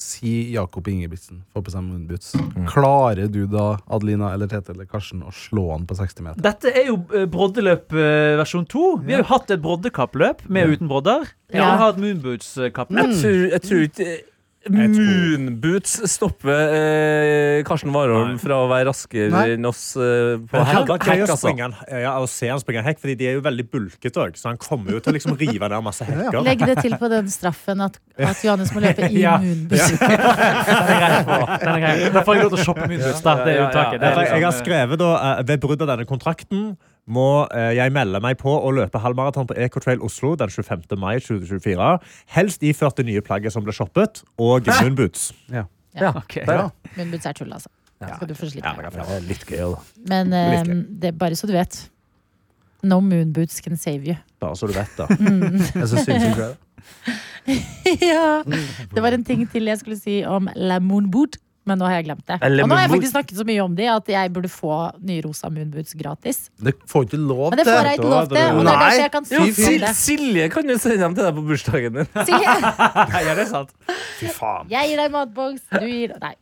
S4: Si Jakob Ingebrigtsen får på seg moonboots. Klarer du da, Adelina eller Tete eller Karsten, å slå han på 60 meter?
S6: Dette er jo eh, broddeløp eh, versjon to. Vi har jo hatt et broddekappløp med og uten brodder. Vi
S2: Ja.
S6: har hatt moonboots-kappløp.
S5: Jeg tror, jeg tror ikke eh, Moonboots stopper eh, Karsten Warholm fra å være raskere
S4: Nei.
S5: enn oss eh, på
S7: Men han
S5: hekk,
S7: kan greie
S5: hekk,
S7: å
S5: altså.
S7: springe en- ja, å se han springe en hekk, Fordi de er jo veldig bulkete òg, så han kommer jo til å liksom rive ned masse hekker.
S2: Legg det til på den straffen at, at Johannes må løpe i
S6: Ja.
S2: moonboots.
S6: Den er grei å få. Den er grei. Da får jeg lov til å shoppe moonboots. Da. Det er
S5: Ja, ja, ja.
S6: uttaket. Det
S7: Jeg,
S6: er
S7: jeg har
S6: liksom, eh,
S7: skrevet da eh, ved brudd av denne kontrakten må eh, jeg melde meg på å løpe halvmaraton på Ecotrail Oslo den 25. mai 2024. Helst iført det nye plagget som ble shoppet, og moonboots.
S5: Ja,
S6: ok.
S5: der, ja.
S2: Moonboots er tull, altså. Skal du få slippe.
S5: Ja, det er litt gøy, da.
S2: Men eh,
S7: Litt gøy.
S2: det er bare så du vet. No moonboots can save you.
S7: Bare så du vet, da.
S4: Jeg synes sykt det.
S2: ja. Det var en ting til jeg skulle si om La Moonboot, men nå har jeg glemt det.
S5: Eh, Le
S2: Og nå har jeg
S5: Moonboot.
S2: faktisk snakket så mye om de at jeg burde få nye rosa moonboots gratis.
S4: Det får ikke lov
S2: Men det får jeg ikke lov til, og det er
S4: Nei.
S2: derfor jeg kan
S5: Jo,
S4: Fy
S2: si
S5: Sil
S2: det.
S5: Silje kan jo sende dem til deg på bursdagen din.
S2: Silje,
S6: Ja, det er sant.
S2: Jeg gir deg matboks, du gir Nei.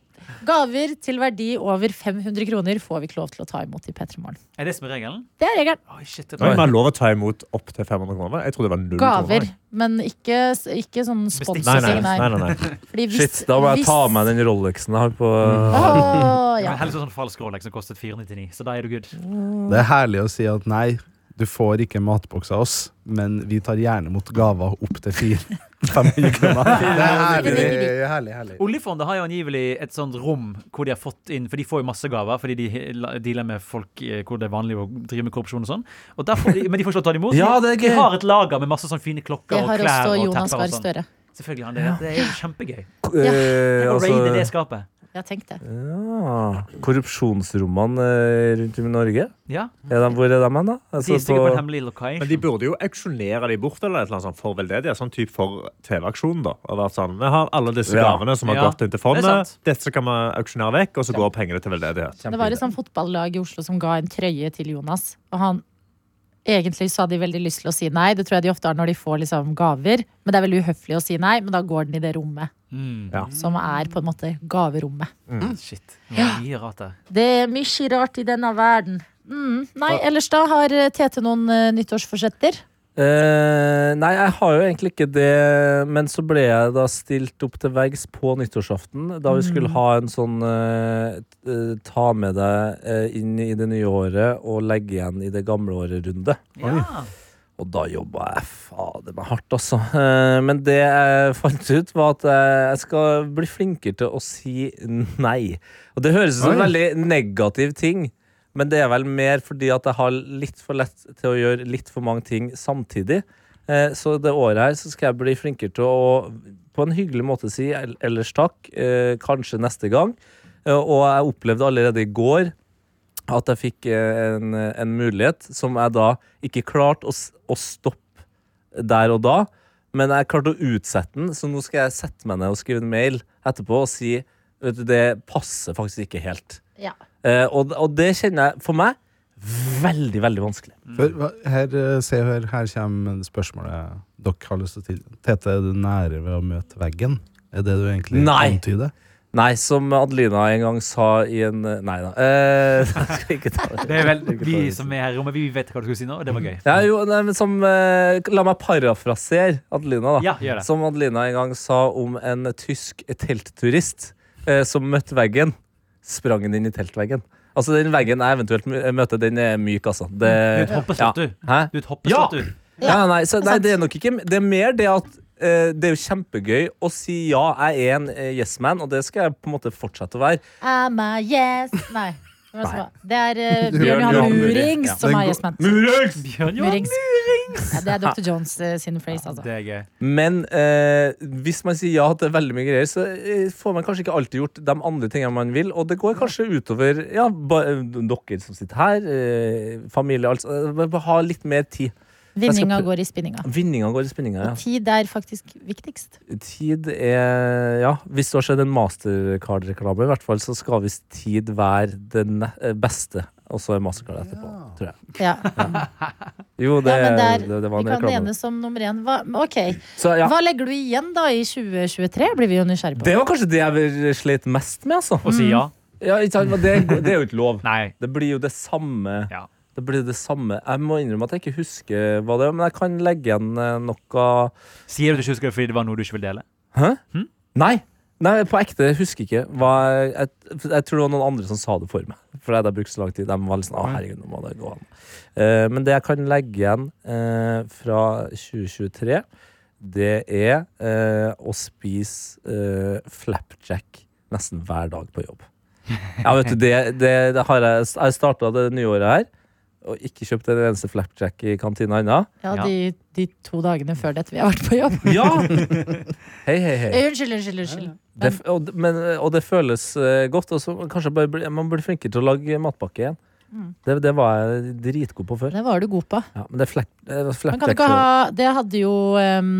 S2: Gaver til verdi over 500 kroner får vi ikke lov til å ta imot i P3 Morgen.
S6: Er det som er regelen?
S2: Det er regelen.
S6: Oi, shit, det er
S7: Men
S6: bra.
S7: man har lov å ta imot opptil 500 kroner? Jeg trodde det var null
S2: Gaver,
S7: kroner.
S2: men ikke, ikke sånn
S6: Bestikk.
S7: Nei, nei,
S2: sponsing.
S7: nei, nei, nei.
S2: Fordi
S5: Shit, da må jeg ta med den Rolexen jeg har på
S6: Mm.
S5: eh,
S2: Åh, ja.
S6: Men helst sånn falsk Rolex som kostet 499, så da er du good.
S4: Det er herlig å si at nei, du får ikke matboks av oss, men vi tar gjerne mot gaver opp til fire. 500 kroner. Det er herlig. det er herlig, herlig.
S6: Oljefondet har jo angivelig et sånt rom hvor de har fått inn For de får jo masse gaver fordi de he- la- dealer med folk eh, hvor det er vanlig å drive med korrupsjon og sånn. Og der får de, men de får ikke lov til å ta det imot.
S5: Ja, det er
S6: de
S5: gøy.
S6: har et lager med masse sånn fine klokker
S2: Det
S6: og
S2: har
S6: klær
S2: også
S6: og
S2: Jonas
S6: tepper
S2: Gahr
S6: og sånn.
S2: Støre.
S6: Selvfølgelig har han det. Det er jo kjempegøy.
S2: Ja.
S5: eh,
S6: Tenk å
S5: altså,
S6: raide det skapet.
S2: Jeg tenkte det.
S5: ja, Korrupsjonsrommene eh, rundt om i Norge.
S6: Ja,
S5: Er de, hvor er de hen, da?
S6: De
S5: Altså,
S6: er sikkert på en
S5: på,
S6: hemmelig location.
S7: Men de burde jo auksjonere de bort eller et eller annet sånt for veldedighet. Sånn type for TV-aksjonen, da. Og vært sånn, vi har alle disse
S5: Ja.
S7: gavene som har
S6: Ja.
S7: gått inn til
S6: Det er
S7: fondet.
S6: sant.
S7: Dette kan vi auksjonere vekk, og så går pengene til veldedighet.
S2: Det var et sånt fotballag i Oslo som ga en trøye til Jonas, og han Egentlig så hadde de veldig lyst til å si nei. Det tror jeg de ofte har når de får liksom gaver. Men det er veldig uhøflig å si nei, men da går den i det rommet. Som er på en måte gaverommet.
S6: Shit. Det var mye rart der.
S2: Det er mye rart i denne verden. Mm. Nei, ellers da har eh, Tete noen eh, nyttårsforsetter.
S5: Eh, nei, jeg har jo egentlig ikke det, men så ble jeg da stilt opp til veggs på nyttårsaften, da vi
S6: Mm.
S5: skulle ha en sånn eh, t- eh, ta med deg eh, inn i det nye året og legge igjen i det gamle året-runde.
S6: Ja.
S5: Og da jobba jeg fader meg hardt, altså. Eh, Men det jeg fant ut, var at eh, jeg skal bli flinkere til å si nei. Og det høres ut som en veldig negativ ting, men det er vel mer fordi at jeg har litt for lett til å gjøre litt for mange ting samtidig. Eh, Så det året her så skal jeg bli flinkere til å på en hyggelig måte si el- ellers takk, eh, kanskje neste gang. Eh, Og jeg opplevde allerede i går at jeg fikk eh, en, en mulighet som jeg da ikke klarte å, s- å stoppe der og da, men jeg klarte å utsette den, så nå skal jeg sette meg ned og skrive en mail etterpå og si vet du, det passer faktisk ikke helt.
S2: Ja.
S5: Eh, og, og det kjenner jeg for meg veldig, veldig vanskelig.
S4: Mm. For, hva- her, eh, se og hør, her kommer spørsmålet dere har lyst til å til. Tete, er du nære ved å møte veggen? Er det du egentlig
S5: Nei.
S4: antyder?
S5: Nei, som Adelina en gang sa i en Nei da. Eh, jeg skal ikke liksom. Mm. ta det.
S6: Det er vel vi som er her i rommet, vi vet hva du skulle si nå, og det var gøy.
S5: Ja, jo, nei, men som, eh, la meg parafrasere Adelina, da.
S6: Ja, gjør det.
S5: Som Adelina en gang sa om en tysk teltturist eh, som møtte veggen. Sprang den inn i teltveggen. Altså, den veggen jeg eventuelt mø- møter, den er myk, altså. Det,
S6: Du er et hoppeslott,
S5: ja.
S6: du.
S5: Hæ?
S6: Du er et
S5: Ja!
S6: hoppeslott, du.
S5: Ja, nei, så, nei, det er nok ikke Det er mer det at eh, det er jo kjempegøy å si ja, jeg er en eh, yes man, og det skal jeg på en måte fortsette å være.
S2: I'm a yes Nei. hvem er det som var? Det er eh, Bjørn
S5: Bjørn
S2: Johan
S5: Johan Murings.
S2: Murings
S5: Ja.
S2: som
S4: Den
S2: har
S4: går-
S2: yes man.
S6: Bjørn Johan.
S2: Murings. Ja, det er Dr. Jones eh, sin phrase, altså.
S6: Det er gøy.
S5: Men eh, hvis man sier ja til veldig mye greier, så eh, får man kanskje ikke alltid gjort de andre tingene man vil, og det går kanskje utover ja, ba, eh, dere som sitter her, eh, familie, altså. eh, bare Ha litt mer tid.
S2: Vinninga
S5: prø-
S2: går i spinninga.
S5: Vinninga går i spinninga, ja.
S2: Tid er faktisk viktigst.
S5: Tid er Ja, hvis det har skjedd en Mastercard-reklame, i hvert fall, så skal visst tid være den ne- eh, beste, og så er Mastercard etterpå, tror jeg.
S2: Ja,
S5: Jo, det,
S2: ja men der,
S5: det, det var
S2: vi
S5: en
S2: kan
S5: reklame.
S2: enes om nummer én. Hva, ok,
S5: Så ja,
S2: hva legger du igjen da i 2023, blir vi jo nysgjerrig på.
S5: det var kanskje det jeg slet mest med, altså.
S6: Og si
S2: Mm.
S6: ja.
S5: Ja, ikke sant, men det, det er jo ikke lov.
S6: Nei.
S5: Det blir jo det samme.
S6: Ja.
S5: Det blir det samme. Jeg må innrømme at jeg ikke husker hva det er, men jeg kan legge igjen eh, noe
S6: Sier du at du ikke husker det fordi det var noe du ikke vil dele?
S5: Nei! Nei, på ekte jeg husker ikke. Hva jeg, jeg, jeg tror det var noen andre som sa det for meg. For jeg hadde brukt så lang tid. De var litt sånn, å herregud, nå må det gå an. Eh, men det jeg kan legge igjen eh, fra 2023, det er eh, å spise eh, flapjack nesten hver dag på jobb. Ja, vet du, det, det, det har jeg, jeg starta det nye året her, og ikke kjøpt en eneste flapjack i kantina ennå.
S2: Ja, de, de to dagene før dette vi har vært på jobb.
S5: Ja! Hei, hei, hei.
S2: Eh, Unnskyld, unnskyld, unnskyld.
S5: Det, f- og, d- men, og det føles eh, godt. Og så kanskje bare, bli- man blir flinkere til å lage matpakke igjen.
S2: Mm.
S5: Det, det var jeg dritgod på før.
S2: Det var du god på.
S5: Ja, men det er flak, det er
S2: Men kan du ikke
S5: flapjack-
S2: ha Det hadde jo ehm,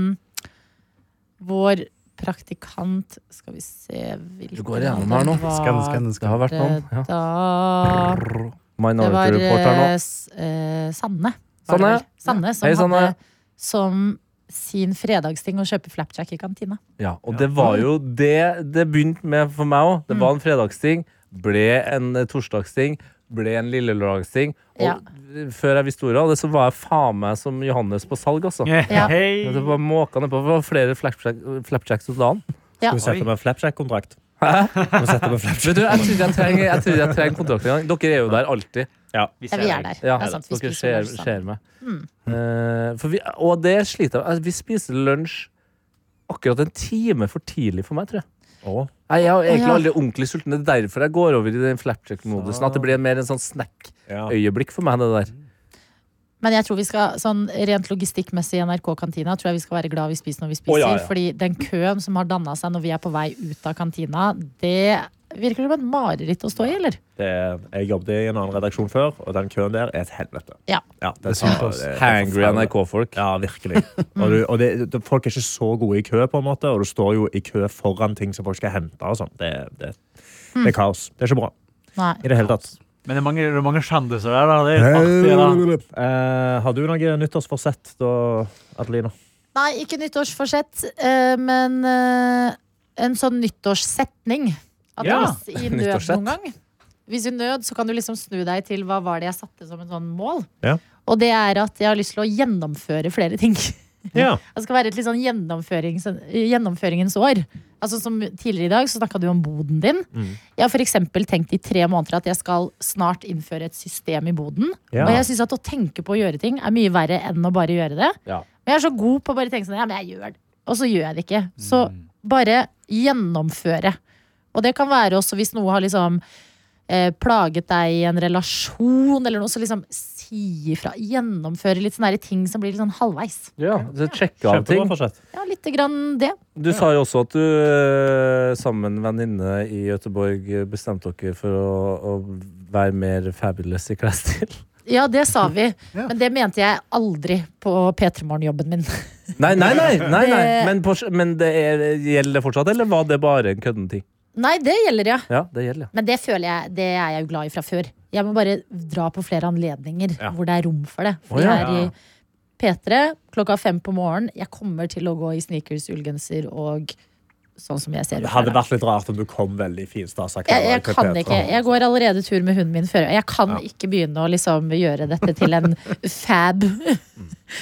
S2: vår praktikant Skal vi se hvilken
S5: Du går gjennom her nå.
S4: Skanne, skanne,
S5: Det
S4: skanne.
S5: har vært noen. Ja.
S2: Da Det var
S5: Minority Report her nå.
S2: eh, s- eh, Sanne. var det
S5: Sanne?
S2: vel? Sanne som
S5: Hei, Sanne.
S2: hadde som sin fredagsting å kjøpe flapjack i kantina.
S5: Ja, og det var jo det det begynte med for meg òg. Det
S2: Mm.
S5: var en fredagsting, ble en eh, torsdagsting, ble en lillelørdagsting. Og
S2: Ja.
S5: før jeg visste ordet av det, så var jeg faen meg som Johannes på salg, altså.
S2: Ja.
S6: Hei.
S5: Det var måka nedpå. Det var flere flapjack, flapjacks om dagen.
S2: Ja.
S7: Skal vi sette opp en flapjack-kontrakt? Skal vi sette opp en flapjack-
S5: Vet du, jeg tror ikke jeg trenger, jeg tror ikke jeg trenger kontrakt engang. Dere er jo der alltid.
S2: Ja, Mm. vi er der.
S5: Ja,
S2: det er sant, vi
S5: dere
S2: spiser
S5: ser,
S2: lunsj sammen.
S5: ser meg. Eh, for vi, og det sliter jeg altså, Vi spiser lunsj akkurat en time for tidlig for meg, tror jeg. Nei, jeg er
S2: Å,
S5: egentlig
S2: ja.
S5: aldri ordentlig sulten. Det er derfor jeg går over i den flapjack-modusen. At det blir mer en sånn snack-øyeblikk for meg. Det der.
S2: Men jeg tror vi skal, sånn rent logistikkmessig i NRK-kantina tror jeg vi skal være glad vi spiser når vi spiser. Fordi den køen som har danna seg når vi er på vei ut av kantina, det virker som et mareritt å stå i, eller?
S7: Det er- Jeg jobbet i en annen redaksjon før, og den køen der er et helvete.
S2: Ja.
S7: Ja, det
S4: synd på
S7: tar-
S4: oss.
S7: det- det er
S5: Hangry
S7: forferdelig.
S5: NRK-folk.
S7: Ja, virkelig. Og, du, og det, det, folk er ikke så gode i kø, på en måte, og du står jo i kø foran ting som folk skal hente. og sånn. Det, det, det er kaos. Det er ikke bra
S2: Nei.
S7: i det hele tatt.
S6: Men det er mange, det er mange kjendiser der, da. Det er artig, da.
S7: Eh, har du noe nyttårsforsett da, Adelina?
S2: Nei, ikke nyttårsforsett, eh, men eh, en sånn nyttårssetning. At
S6: Ja.
S2: hvis i nød
S5: Nyttårssett.
S2: noen gang Hvis i nød, så kan du liksom snu deg til hva var det jeg satte som en sånn mål.
S7: Ja.
S2: Og det er at jeg har lyst til å gjennomføre flere ting. Det
S7: Ja.
S2: skal være et litt sånn gjennomførings, gjennomføringens år. Altså Som tidligere i dag så snakka du om boden din. Jeg har for eksempel tenkt i tre måneder at jeg skal snart innføre et system i boden.
S7: Ja.
S2: Og jeg syns at å tenke på å gjøre ting er mye verre enn å bare gjøre det.
S5: Ja.
S2: Men jeg er så god på å bare tenke sånn, ja, men jeg gjør det. Og så gjør jeg det ikke. Så bare gjennomføre. Og det kan være også hvis noe har liksom eh, plaget deg i en relasjon eller noe, så liksom si ifra. Gjennomføre litt sånne her ting som blir litt sånn halvveis.
S5: Ja, så sjekke av
S7: Kjempebra
S5: ting.
S7: forsett.
S2: Ja, lite grann det.
S5: Du sa jo også at du eh, sammen med en venninne i Gøteborg eh, bestemte dere for å, å være mer fabulous i klesstil.
S2: Ja, det sa vi. Men det mente jeg aldri på P3 Morgen-jobben min.
S5: Nei, nei, nei! nei, nei.
S2: Det-
S5: Men, på, men det er, gjelder det fortsatt, eller var det bare en kødden ting?
S2: Nei, det gjelder, ja.
S5: Ja, det gjelder, ja.
S2: Men det føler jeg, det er jeg jo glad i fra før. Jeg må bare dra på flere anledninger
S5: Ja.
S2: hvor det er rom for det. For
S5: Å, ja.
S2: jeg er i P3 klokka fem på morgenen. Jeg kommer til å gå i sneakers, ullgenser og sånn som jeg ser ut.
S7: Det hadde
S2: her da.
S7: vært litt rart om du kom veldig finstasa.
S2: jeg, jeg kan ikke. Jeg går allerede tur med hunden min før. Jeg kan ikke begynne å liksom gjøre dette til en fab
S5: Det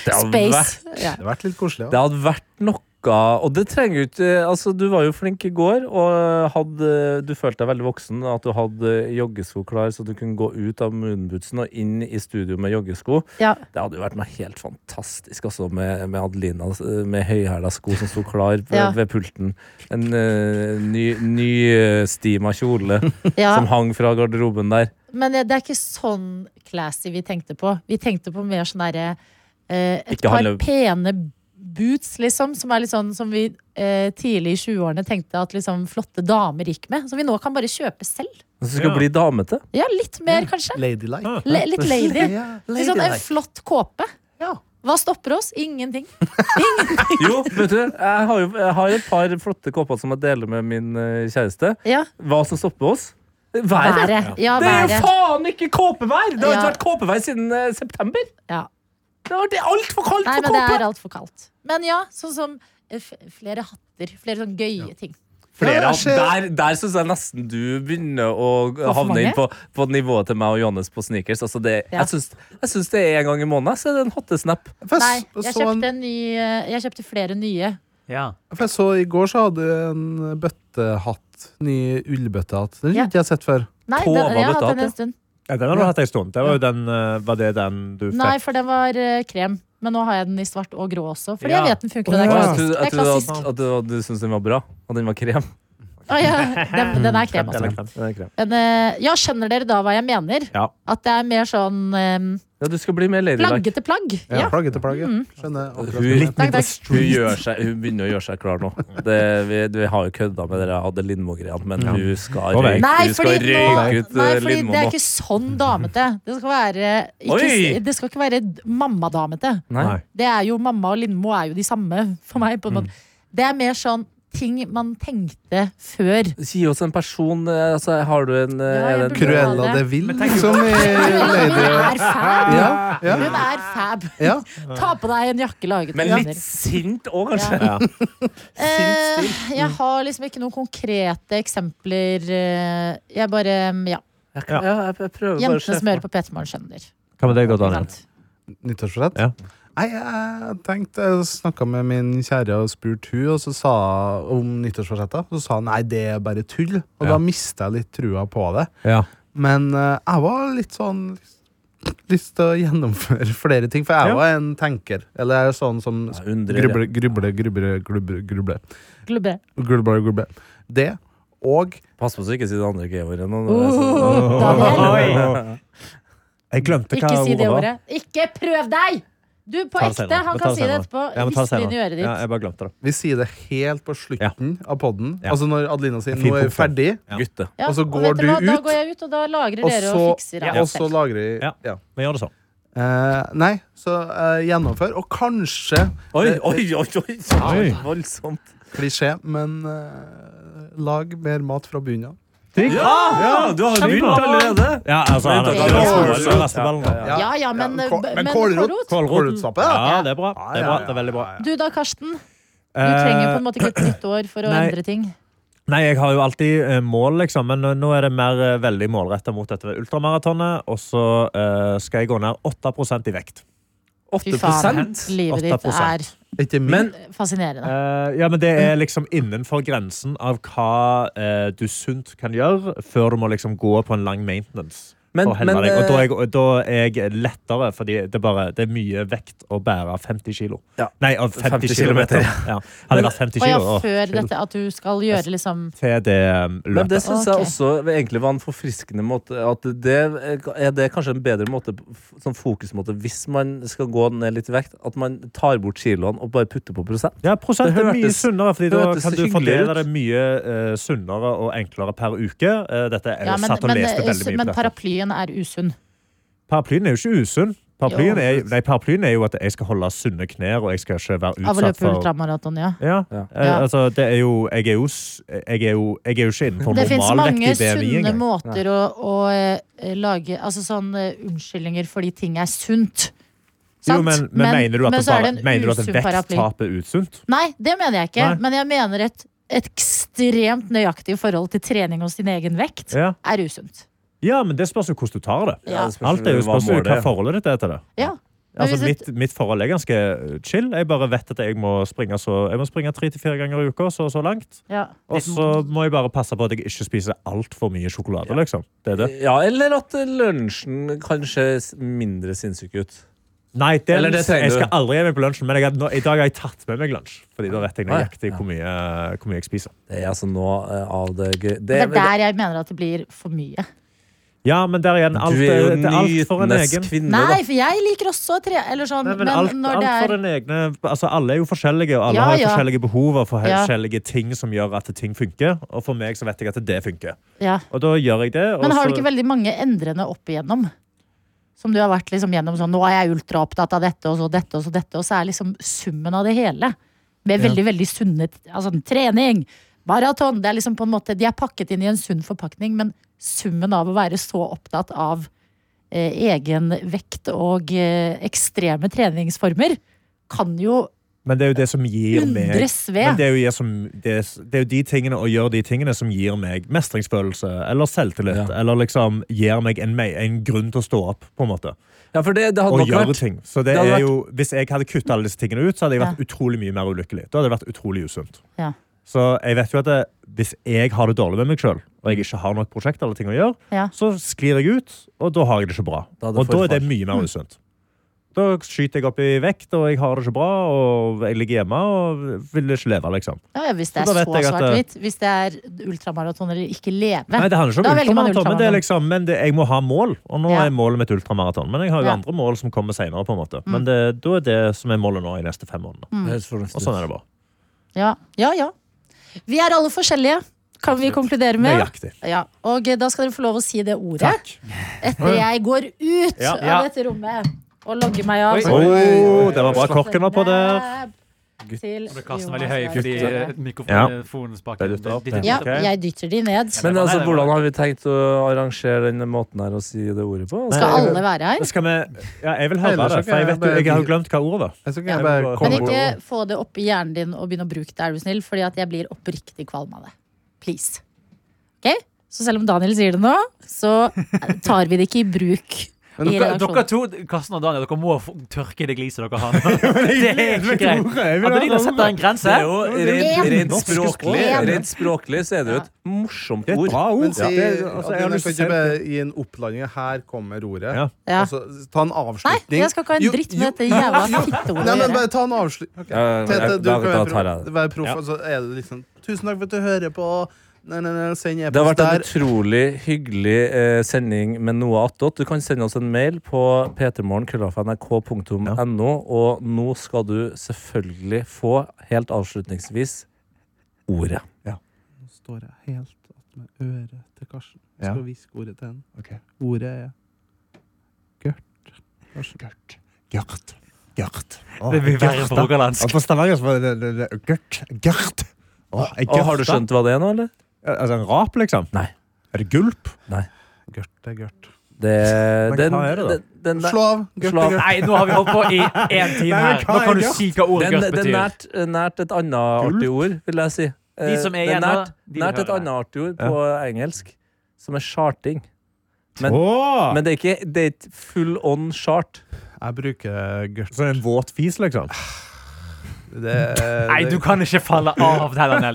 S5: hadde vært-
S2: space. Ja.
S4: Det har vært litt koselig.
S5: Det hadde vært noe Og det trenger jo ikke Altså, du var jo flink i går, og hadde, du følte deg veldig voksen. At du hadde joggesko klar, så du kunne gå ut av moonbootsen og inn i studio med joggesko.
S2: Ja.
S5: Det hadde jo vært noe helt fantastisk også med, med Adelina eh, med høyhæla sko som sto klar på,
S2: Ja.
S5: ved pulten. En uh, ny, ny eh, stima kjole
S2: Ja.
S5: som hang fra garderoben der.
S2: Men det er ikke sånn classy vi tenkte på. Vi tenkte på mer sånn derre eh, Et
S5: Ikke
S2: par
S5: handle-
S2: pene boots, liksom, som er litt sånn som vi eh, tidlig i 20-årene tenkte at liksom flotte damer gikk med. Som vi nå kan bare kjøpe selv.
S5: Som skal
S6: Ja.
S5: bli damete.
S2: Ja, litt mer, kanskje.
S4: Ladylike.
S2: Le litt lady.
S4: Ja,
S2: Litt sånn en
S4: ladylike.
S2: flott kåpe.
S4: Ja.
S2: Hva stopper oss? Ingenting.
S5: Jo, vet du, jeg har, jo, jeg har et par flotte kopper som jeg deler med min eh, kjæreste.
S2: Ja,
S5: Hva som stopper oss? Været!
S2: Været. Ja,
S5: Det er jo
S2: været.
S5: faen ikke kåpevær! Det har
S2: Ja.
S5: ikke vært kåpevær siden eh, september.
S2: Ja.
S5: Det har vært altfor kaldt
S2: Nei,
S5: for
S2: men det er
S5: kåpe!
S2: altfor kaldt. Men ja, sånn som eh, f flere hatter. Flere sånn gøye ting.
S5: Flere
S4: Ja,
S5: av,
S4: jeg ser-
S5: der der syns jeg nesten du begynner å havne
S2: mange?
S5: inn på, på nivået til meg og Johannes på sneakers. Altså det,
S2: Ja.
S5: jeg, syns, jeg syns det er en gang i måneden, så er det en hottesnap.
S4: For
S2: Nei,
S4: jeg, s-
S2: jeg
S4: så en,
S2: kjøpte, en ny, eh, jeg kjøpte flere nye.
S6: Ja.
S4: for jeg så I går så hadde jeg en bøttehatt. Ny ullbøttehatt. Den
S2: Ja.
S4: har ikke jeg sett før.
S2: Nei,
S5: På
S2: den,
S5: hva
S2: jeg har
S5: dette
S2: hatt den
S5: hatet?
S2: en stund.
S7: Ja, den har du hatt en stund. Det var, jo den, eh, var det den du fikk?
S2: Nei, for den var eh, krem. Men nå har jeg den i svart og grå også, fordi
S6: Ja.
S2: jeg vet den funker. og Det er
S5: Jeg
S2: klassisk. Det
S5: trodde,
S2: er
S5: jeg trodde
S2: klassisk.
S5: at, at du, at du syntes den var bra, og den var krem.
S2: Å, ja. den, den er krem, altså.
S7: Eller klem.
S5: Den er krem.
S2: Men eh, ja, skjønner dere da hva jeg mener?
S7: Ja.
S2: At det er mer sånn eh,
S5: Ja, du skal bli mer ladylike.
S2: plaggete plagg.
S4: Ja.
S2: Ja.
S4: Plagge til plagge. Skjønner. akkurat
S5: Hun,
S4: det.
S2: Takk, takk.
S5: hun, gjør seg, hun begynner å gjøre seg klar nå. Det, vi, vi har jo kødda med dere Adde Lindmo-greiene, men hun skal
S7: Nå
S5: røyke,
S7: vet jeg.
S2: Nei,
S5: hun skal
S2: fordi, nå,
S5: røyke ut
S2: nei,
S5: eh,
S2: fordi
S5: Lindmo
S2: det er
S5: nå.
S2: ikke sånn damete. Det skal være
S5: Oi!
S2: ikke, Det skal ikke være mammadamete.
S5: Nei.
S7: Nei.
S2: Det er jo Mamma og Lindmo er jo de samme for meg. på en måte. Det er mer sånn ting man tenkte før.
S5: Gi oss en person. eh, Altså, har du en, eh,
S2: Ja, jeg
S5: er det en
S2: burde
S4: Cruella de Vil, som i
S2: Hun
S4: Lady
S2: er fæl!
S4: Ja, ja,
S2: Hun er fab.
S4: ja.
S2: Ta på deg en jakke laget
S5: Men
S2: av
S5: litt
S2: kvinner.
S5: sint òg, kanskje.
S7: Ja.
S2: Eh, jeg har liksom ikke noen konkrete eksempler. eh, Jeg bare mm, Ja.
S5: Jeg, kan- ja, jeg, jeg prøver bare å
S2: Jentene
S5: se
S2: som hører på Petermann, skjønner.
S7: Hva med deg, da,
S2: Ikke
S7: Daniel?
S2: sant?
S4: Nyttårsforsett?
S7: Ja.
S4: Nei, jeg tenkte Jeg snakka med min kjære og spurte hun Og så sa om nyttårsforsettet. Så sa hun nei, det er bare tull. Og
S7: Ja.
S4: da mista jeg litt trua på det.
S7: Ja.
S4: Men eh, jeg var litt sånn lyst til å gjennomføre flere ting, for jeg
S7: Ja.
S4: var en tenker. Eller jeg er sånn som
S5: Ja, undrer, ja.
S4: gruble, gruble, gruble, gruble, gruble.
S2: Glubbe.
S4: Gruble, gruble. Det og
S5: Pass på så ikke sier det andre G-ordet nå.
S2: Oh, Daniel,
S7: Jeg glemte hva
S2: ikke si det
S7: var.
S2: ordet. Ikke prøv deg! Du, på
S7: Ta det
S2: ekte.
S7: senere.
S2: Han
S7: Vi tar
S2: kan si det
S7: senere.
S2: etterpå.
S7: Ja, vi tar det
S2: Rispe inn i
S7: senere.
S2: øret ditt.
S7: Ja, jeg bare glemte det.
S4: vi sier det helt på slutten av poden.
S7: Ja.
S4: Altså når Adelina sier
S7: En fin
S4: 'nå er vi
S7: punkt, ja.
S4: ferdig',
S7: Ja.
S5: sånn, Gutte.
S2: Ja,
S4: og så går
S2: vet dere
S4: du
S2: hva? Da
S4: ut,
S2: går jeg ut, og da lagrer
S4: og
S2: dere
S4: så-
S2: og fikser alt
S4: og så
S2: selv.
S4: lagrer jeg
S7: Ja.
S4: ja.
S7: Vi gjør det sånn.
S4: Eh, nei, så eh, gjennomfør. Og kanskje
S5: Oi,
S4: det-
S5: oi, oi! oi.
S7: Oi.
S5: Voldsomt.
S4: Klisjé, men eh, lag mer mat fra bunnen av.
S7: riktig.
S5: Ja, du har begynt allerede.
S7: Ja, altså, han er-
S5: Ja, ja, ja.
S7: Lasteballen.
S2: Ja, ja, men,
S4: kå-
S2: men,
S4: men kålrot?
S2: kålrot?
S4: Kålrotstappe?
S7: Ja, det er bra. Det er bra. Det er veldig bra. Eh,
S2: Du da, Karsten. Du trenger på en måte ikke et nytt år for å
S7: Nei.
S2: endre ting.
S7: Nei, jeg har jo alltid eh, mål, liksom, men nå- nå er det mer eh, veldig målretta mot dette ultramaratonet. Og så eh, skal jeg gå ned 8 i vekt.
S2: Fy faen,
S5: 8
S2: livet ditt er
S7: 8%.
S4: Ikke min.
S5: Men
S2: fascinerende.
S7: Eh, ja, men det er liksom innenfor grensen av hva eh, du sunt kan gjøre, før du må liksom gå på en lang maintenance.
S5: Men-
S7: for å helme
S5: men,
S7: deg. Og da er,
S5: eh,
S7: jeg, og da er jeg lettere, fordi det er, bare, det er mye vekt å bære 50 kilo.
S5: Ja.
S7: Nei, av 50,
S5: 50
S7: kilometer. Ja. Hadde jeg vært 50
S2: Og ja,
S7: kilo å,
S2: før
S7: shit.
S2: dette at du skal gjøre liksom
S7: til det um,
S5: Men det
S7: løpet.
S5: syns
S2: Ah, Ok.
S5: jeg også egentlig var en forfriskende måte. At det eh, er det kanskje en bedre måte, sånn fokusmåte, hvis man skal gå ned litt i vekt, at man tar bort kiloene og bare putter på prosent.
S7: Ja, prosent
S5: Det
S7: er mye
S5: hørtes-
S7: sunnere, fordi da
S5: hørtes
S7: kan du fordele
S5: hyggeligere ut.
S7: det mye eh, sunnere og enklere per uke. Eh, dette er
S2: ja, men,
S7: satt og
S2: men,
S7: leste veldig mye
S2: men
S7: på dette.
S2: paraplyen er usunn.
S7: Paraplyen er jo ikke usunn.
S2: Jo.
S7: Paraplyen er, nei, paraplyen er jo at jeg skal holde sunne knær, og jeg skal ikke
S2: Av
S7: være
S2: å
S7: utsatt
S2: løpe
S7: for
S2: ultramaraton, ja.
S7: ja.
S5: Ja.
S7: eh,
S2: Ja.
S7: altså, det er jo Jeg er jo, s- jeg er jo, jeg er jo ikke innenfor
S2: Det finnes mange
S7: normalvektig BMI
S2: sunne
S7: engang.
S2: måter å, å eh, lage Altså sånn eh, unnskyldninger fordi ting er sunt.
S7: Jo,
S2: Sant?
S7: men, men, mener du at,
S2: men
S7: det
S2: så er
S7: bare,
S2: det en
S7: mener du at
S2: usunn paraply.
S7: vekttap er usunt?
S2: Nei, det mener jeg ikke.
S7: Nei.
S2: Men jeg mener et ekstremt nøyaktig forhold til trening og sin egen vekt
S7: Ja.
S2: er usunt.
S7: ja, men det spørs jo hvordan du tar det.
S2: Ja.
S7: Alt er jo
S5: hva
S7: spørs jo
S5: målet
S7: hva
S5: er.
S7: forholdet ditt er til det.
S2: Ja. Men
S7: Altså,
S2: hvis et-
S7: mitt, mitt forhold er ganske eh, chill. Jeg bare vet at jeg må springe, så, jeg må springe tre til fire ganger i uka, så og så langt.
S2: Ja.
S7: Og så må jeg bare passe på at jeg ikke spiser altfor mye sjokolade, liksom. Det er det.
S5: Ja, eller at lunsjen kanskje s- mindre sinnssyk ut.
S7: Nei, det,
S5: Eller det trenger
S7: jeg skal
S5: du.
S7: aldri gi meg på lunsjen, men jeg, har- nå, i dag har jeg tatt med meg lunsj. Fordi da vet jeg
S5: Nei.
S7: nøyaktig hvor mye, hvor mye jeg spiser.
S5: Det er altså nå eh, av det gøy. Det,
S2: Det
S5: er-
S2: er der jeg mener at det blir for mye.
S7: Ja, men der igjen, alt,
S5: du eh, er jo
S7: det er alt for en
S5: nytenes
S7: egen
S5: kvinne,
S2: Nei, for jeg liker også å tre... Eller sånn,
S7: Nei, men
S2: men
S7: alt,
S2: når
S7: alt
S2: det
S7: for
S2: er
S7: den egne altså Alle er jo forskjellige, og alle
S2: Ja,
S7: har jo
S2: ja.
S7: forskjellige behov og for
S2: Ja.
S7: forskjellige ting som gjør at ting funker. Og for meg så vet jeg at det funker.
S2: ja.
S7: Og da gjør jeg det. og
S2: Men har du
S7: så-
S2: ikke veldig mange endrende opp igjennom? Som du har vært liksom gjennom sånn Nå er jeg ultraopptatt av dette og så dette og så dette, og så er liksom summen av det hele. Med veldig, veldig sunne altså, trening, maraton Det er liksom på en måte De er pakket inn i en sunn forpakning, men summen av å være så opptatt av eh, egen vekt og eh, ekstreme treningsformer kan jo
S7: Men det er jo det som gir meg
S2: undres ved.
S7: Men det er, jo jeg som, det, er, det er jo de tingene og gjør de tingene som gir meg mestringsfølelse eller selvtillit.
S5: Ja.
S7: Eller liksom gir meg en, me- en grunn til å stå opp, på en måte.
S5: Ja, for det, det hadde
S7: Og
S5: nok
S7: gjøre
S5: vært
S7: ting. Så det
S5: det hadde
S7: er jo, hvis jeg hadde kutta alle disse tingene ut, så hadde jeg vært
S2: Ja.
S7: utrolig mye mer ulykkelig. Da hadde det vært utrolig usunt.
S2: Ja.
S7: Så jeg vet jo at det, hvis jeg har det dårlig med meg sjøl, og jeg ikke har nok prosjekt eller ting å gjøre,
S2: Ja.
S7: så sklir jeg ut, og da har jeg det ikke bra.
S5: Da er det
S7: og da er det
S5: forfall.
S7: mye
S2: Mm.
S7: mer usunt. Da skyter jeg opp i vekt, og jeg har det ikke bra, og jeg ligger hjemme og vil ikke leve, liksom.
S2: Ja, ja, hvis det
S7: Så
S2: er
S7: da
S2: så
S7: vet jeg at det-
S2: svart-hvitt. Hvis det er ultramaraton eller ikke leve.
S7: Nei, det handler ikke
S2: Da
S7: om
S2: velger man
S7: ultramaraton, men, det er
S2: ultramaraton.
S7: liksom, men det, jeg må ha mål. Og nå
S2: Ja.
S7: er målet mitt ultramaraton. Men jeg har jo
S2: Ja. Mm.
S7: andre mål som kommer senere, på en måte. Men det, da er det som er målet nå i neste fem måneder. Og sånn er det bare.
S2: Ja, ja, ja. Vi er alle forskjellige, kan vi konkludere med.
S7: Nøyaktig.
S2: Ja, og eh, da skal dere få lov å si det ordet etter jeg går ut
S7: Ja.
S2: av dette rommet og logger meg av.
S6: Oi.
S7: Å, det var bra korken var på der.
S2: Til
S6: Ble kasten veldig
S2: Jonas
S6: høy fordi eh,
S2: Gahr Støre.
S6: mikrofonen spaken
S7: Det er dyttet opp,
S6: dyttet
S7: det.
S2: Ja,
S7: Ok.
S6: opp.
S2: jeg dytter de ned.
S5: Men
S6: Nei,
S5: altså,
S6: det var-
S5: hvordan har vi tenkt å arrangere denne måten her å si det ordet på? Altså,
S2: Skal alle være her?
S7: Skal vi Ja, jeg vil høre
S4: Ellers
S7: det,
S4: så kan
S7: for jeg
S4: jeg
S7: vet jo
S4: bare-
S7: Jeg har jo glemt hva ordet var.
S4: Jeg skal ikke
S7: Ja.
S4: bare
S7: Kom,
S2: Men
S4: komme
S2: ikke få det oppi hjernen din og begynne å bruke det, er du snill, fordi at jeg blir oppriktig kvalm av det. Please. Ok? Så selv om Daniel sier det nå, så tar vi det ikke i bruk. I
S4: Men
S6: Dere,
S2: redaksjonen.
S6: dere to, Karsten og Daniel, dere må få tørke det gliset dere har. Det er ikke greit. Adelina setter en
S5: Det
S6: grense.
S5: er jo rent,
S2: En.
S5: rent,
S7: Norske
S5: språklig,
S2: språk.
S5: rent språklig så er det jo et morsomt
S7: Det er et
S5: ord.
S7: bra ord.
S4: Men si,
S7: Ja. Det- altså, jeg har
S4: at du
S7: lyst til å
S4: kan ikke
S7: si-
S4: bare gi en opplanding. Her kommer ordet.
S7: Ja.
S2: Ja.
S4: Altså, ta en
S2: Nei,
S4: avslutning.
S2: jeg skal ikke ha en
S4: Jo,
S2: dritt
S4: jo,
S2: med dette jævla fitteordet
S4: Nei,
S2: å
S4: men
S2: gjøre.
S4: bare ta en avslutning.
S5: Ja, ja, ja,
S4: Tete,
S5: da-
S4: du kan
S5: da
S4: være
S5: tar
S4: proff.
S5: jeg det.
S4: Være proff og så er det liksom Tusen takk for at du hører på. Nei, nei, nei, send
S5: Det har
S4: e-post
S5: vært en
S4: der.
S5: utrolig hyggelig eh, sending med noe attåt. Du kan sende oss en mail på p3morgen.nrk.no, og nå skal du selvfølgelig få, helt avslutningsvis, ordet.
S4: Står jeg helt med øret til Karsten. Jeg skal hviske ordet til henne. Ordet er
S7: Gjørt. Gjørt. Å,
S6: Det blir verre
S7: gjørt,
S6: på
S7: da.
S6: rogalandsk.
S7: Og på stavangersk var det- det det- Gjørt. Gjørt. Å, jeg
S5: Og har du
S7: gjørta.
S5: skjønt hva det er nå, eller?
S7: Altså en rap, liksom?
S5: Nei.
S7: Er det gulp?
S4: Gørt er gørt.
S5: Det,
S7: Men
S5: den,
S7: hva er det da?
S5: den, den der,
S4: Slå av! Gørt
S5: Slå av.
S4: er gørt.
S6: Nei, nå har vi holdt på i én time her. Nå kan du si hva ordet
S5: den, den
S6: gørt
S5: er
S6: betyr.
S5: nært, nært et annet artig ord, vil jeg si. Eh,
S6: De som er
S5: det
S6: igjen nå,
S5: nært,
S6: de
S5: nært et
S6: hører
S5: annet artig ord på engelsk, som er charting. Men-
S7: Åh!
S5: Men det er ikke det er ikke full on chart.
S4: Jeg bruker gørt.
S7: Sånn en våt fis, liksom.
S4: Det,
S6: Nei, du kan ikke falle av det her, Daniel.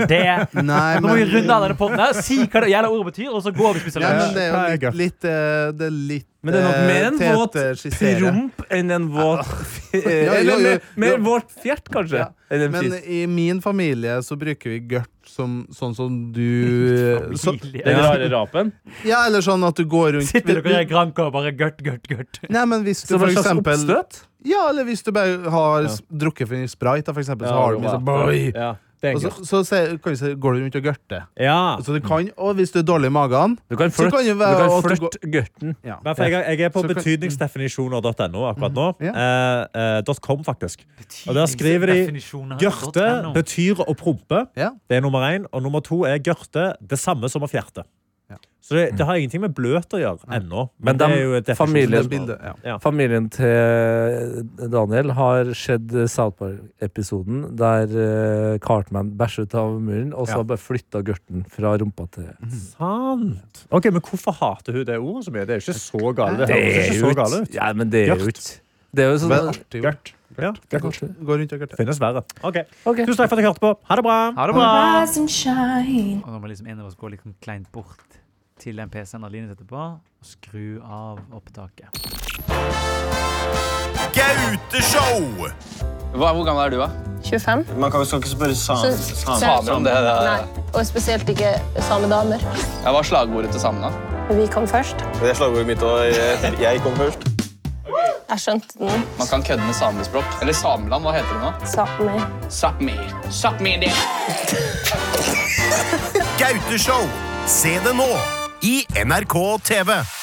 S6: Det
S4: Nei,
S6: Nå må vi
S4: men-
S6: runde av denne podden her. Si hva det jævla ordet betyr, og så går vi og spiser
S4: Ja, men
S6: lunsj.
S4: det er
S7: Nei,
S4: jo
S7: gørt.
S4: litt, litt eh, Det er litt
S5: Men det er nok
S4: eh,
S5: mer en våt
S4: teteskissere.
S5: promp enn en våt
S4: jo,
S5: Eller
S4: jo, jo.
S5: mer- mer våt fjert,
S4: eh,
S5: kanskje.
S4: Ja.
S5: Enn en
S4: Men eh,
S5: fis.
S4: i min familie så bruker vi gørt som sånn som du så,
S5: Den rare rapen.
S4: Ja, eller sånn at du går rundt
S6: Sitter dere i granka og bare gørt, gørt, gørt?
S4: Nei, men hvis du
S5: Som
S4: for
S5: en slags
S4: eksempel
S5: oppstøt?
S4: Ja, eller hvis du bare har s- drukket for en sprite, da, for eksempel, så har du
S7: sånn,
S4: liksom Boi!
S5: Ja.
S7: Det
S4: Og
S7: er
S4: så,
S7: gørt.
S4: så, se- kan du si, går du rundt og gørter.
S7: Ja.
S4: Så det kan, og hvis du er dårlig i magen
S5: Du kan
S4: Så
S5: flørte
S4: kan jo være at du
S5: gørten.
S4: ja.
S7: Nei, for jeg, jeg er på
S4: Så kan-
S7: betydningsdefinisjoner.no akkurat nå.
S4: Ja.
S7: Eh, eh, .com, faktisk. Og der skriver de Gørte betyr å prompe.
S4: Ja.
S7: Det er nummer én. Og nummer to er gørte det samme som å fjerte.
S4: Ja.
S7: Så det, det har ingenting med bløt å gjøre ennå.
S5: Men
S7: Men,
S5: dem-
S7: det er jo et
S4: Det
S5: familien-
S4: bildet, ja.
S5: Familien til Daniel har sett eh, South Park-episoden der eh, Cartman bæsjer ut av muren, og så har bare flytta gørten fra rumpa til
S7: Sant. Ok, Men hvorfor hater hun det ordet så mye? Det er jo ikke så gale. Det, høres ikke så gale ut.
S5: Ja, men det er jo
S7: Gørt.
S5: ikke Det er jo
S4: Men
S5: sånn
S4: artig ord.
S7: Gørt. Ja, gørt.
S4: Går rundt og gørter.
S7: Finnes verre. Ok.
S5: Ok.
S7: Tusen takk for at dere hørte på. Ha det bra.
S6: Ha det bra.
S9: Rise and shine.
S6: Og da må liksom en av oss gå litt kleint bort til den PC-en Aline setter på, og skru av opptaket.
S10: hvor gammel er du, da?
S11: 25.
S10: Man kan, skal ikke spørre
S11: Så-
S10: samer om det.
S11: Nei. Og spesielt ikke samedamer.
S10: Jeg var slagordet til samene.
S11: Vi kom først.
S10: Det er slagordet mitt, og jeg, kom først.
S11: Jeg skjønte den.
S10: Man kan kødde med samespråk. Eller Sameland, hva heter det nå?
S11: Sápmi.
S10: Sápmi. Sápmi det.
S12: Gaute Show. Se det nå i NRK TV.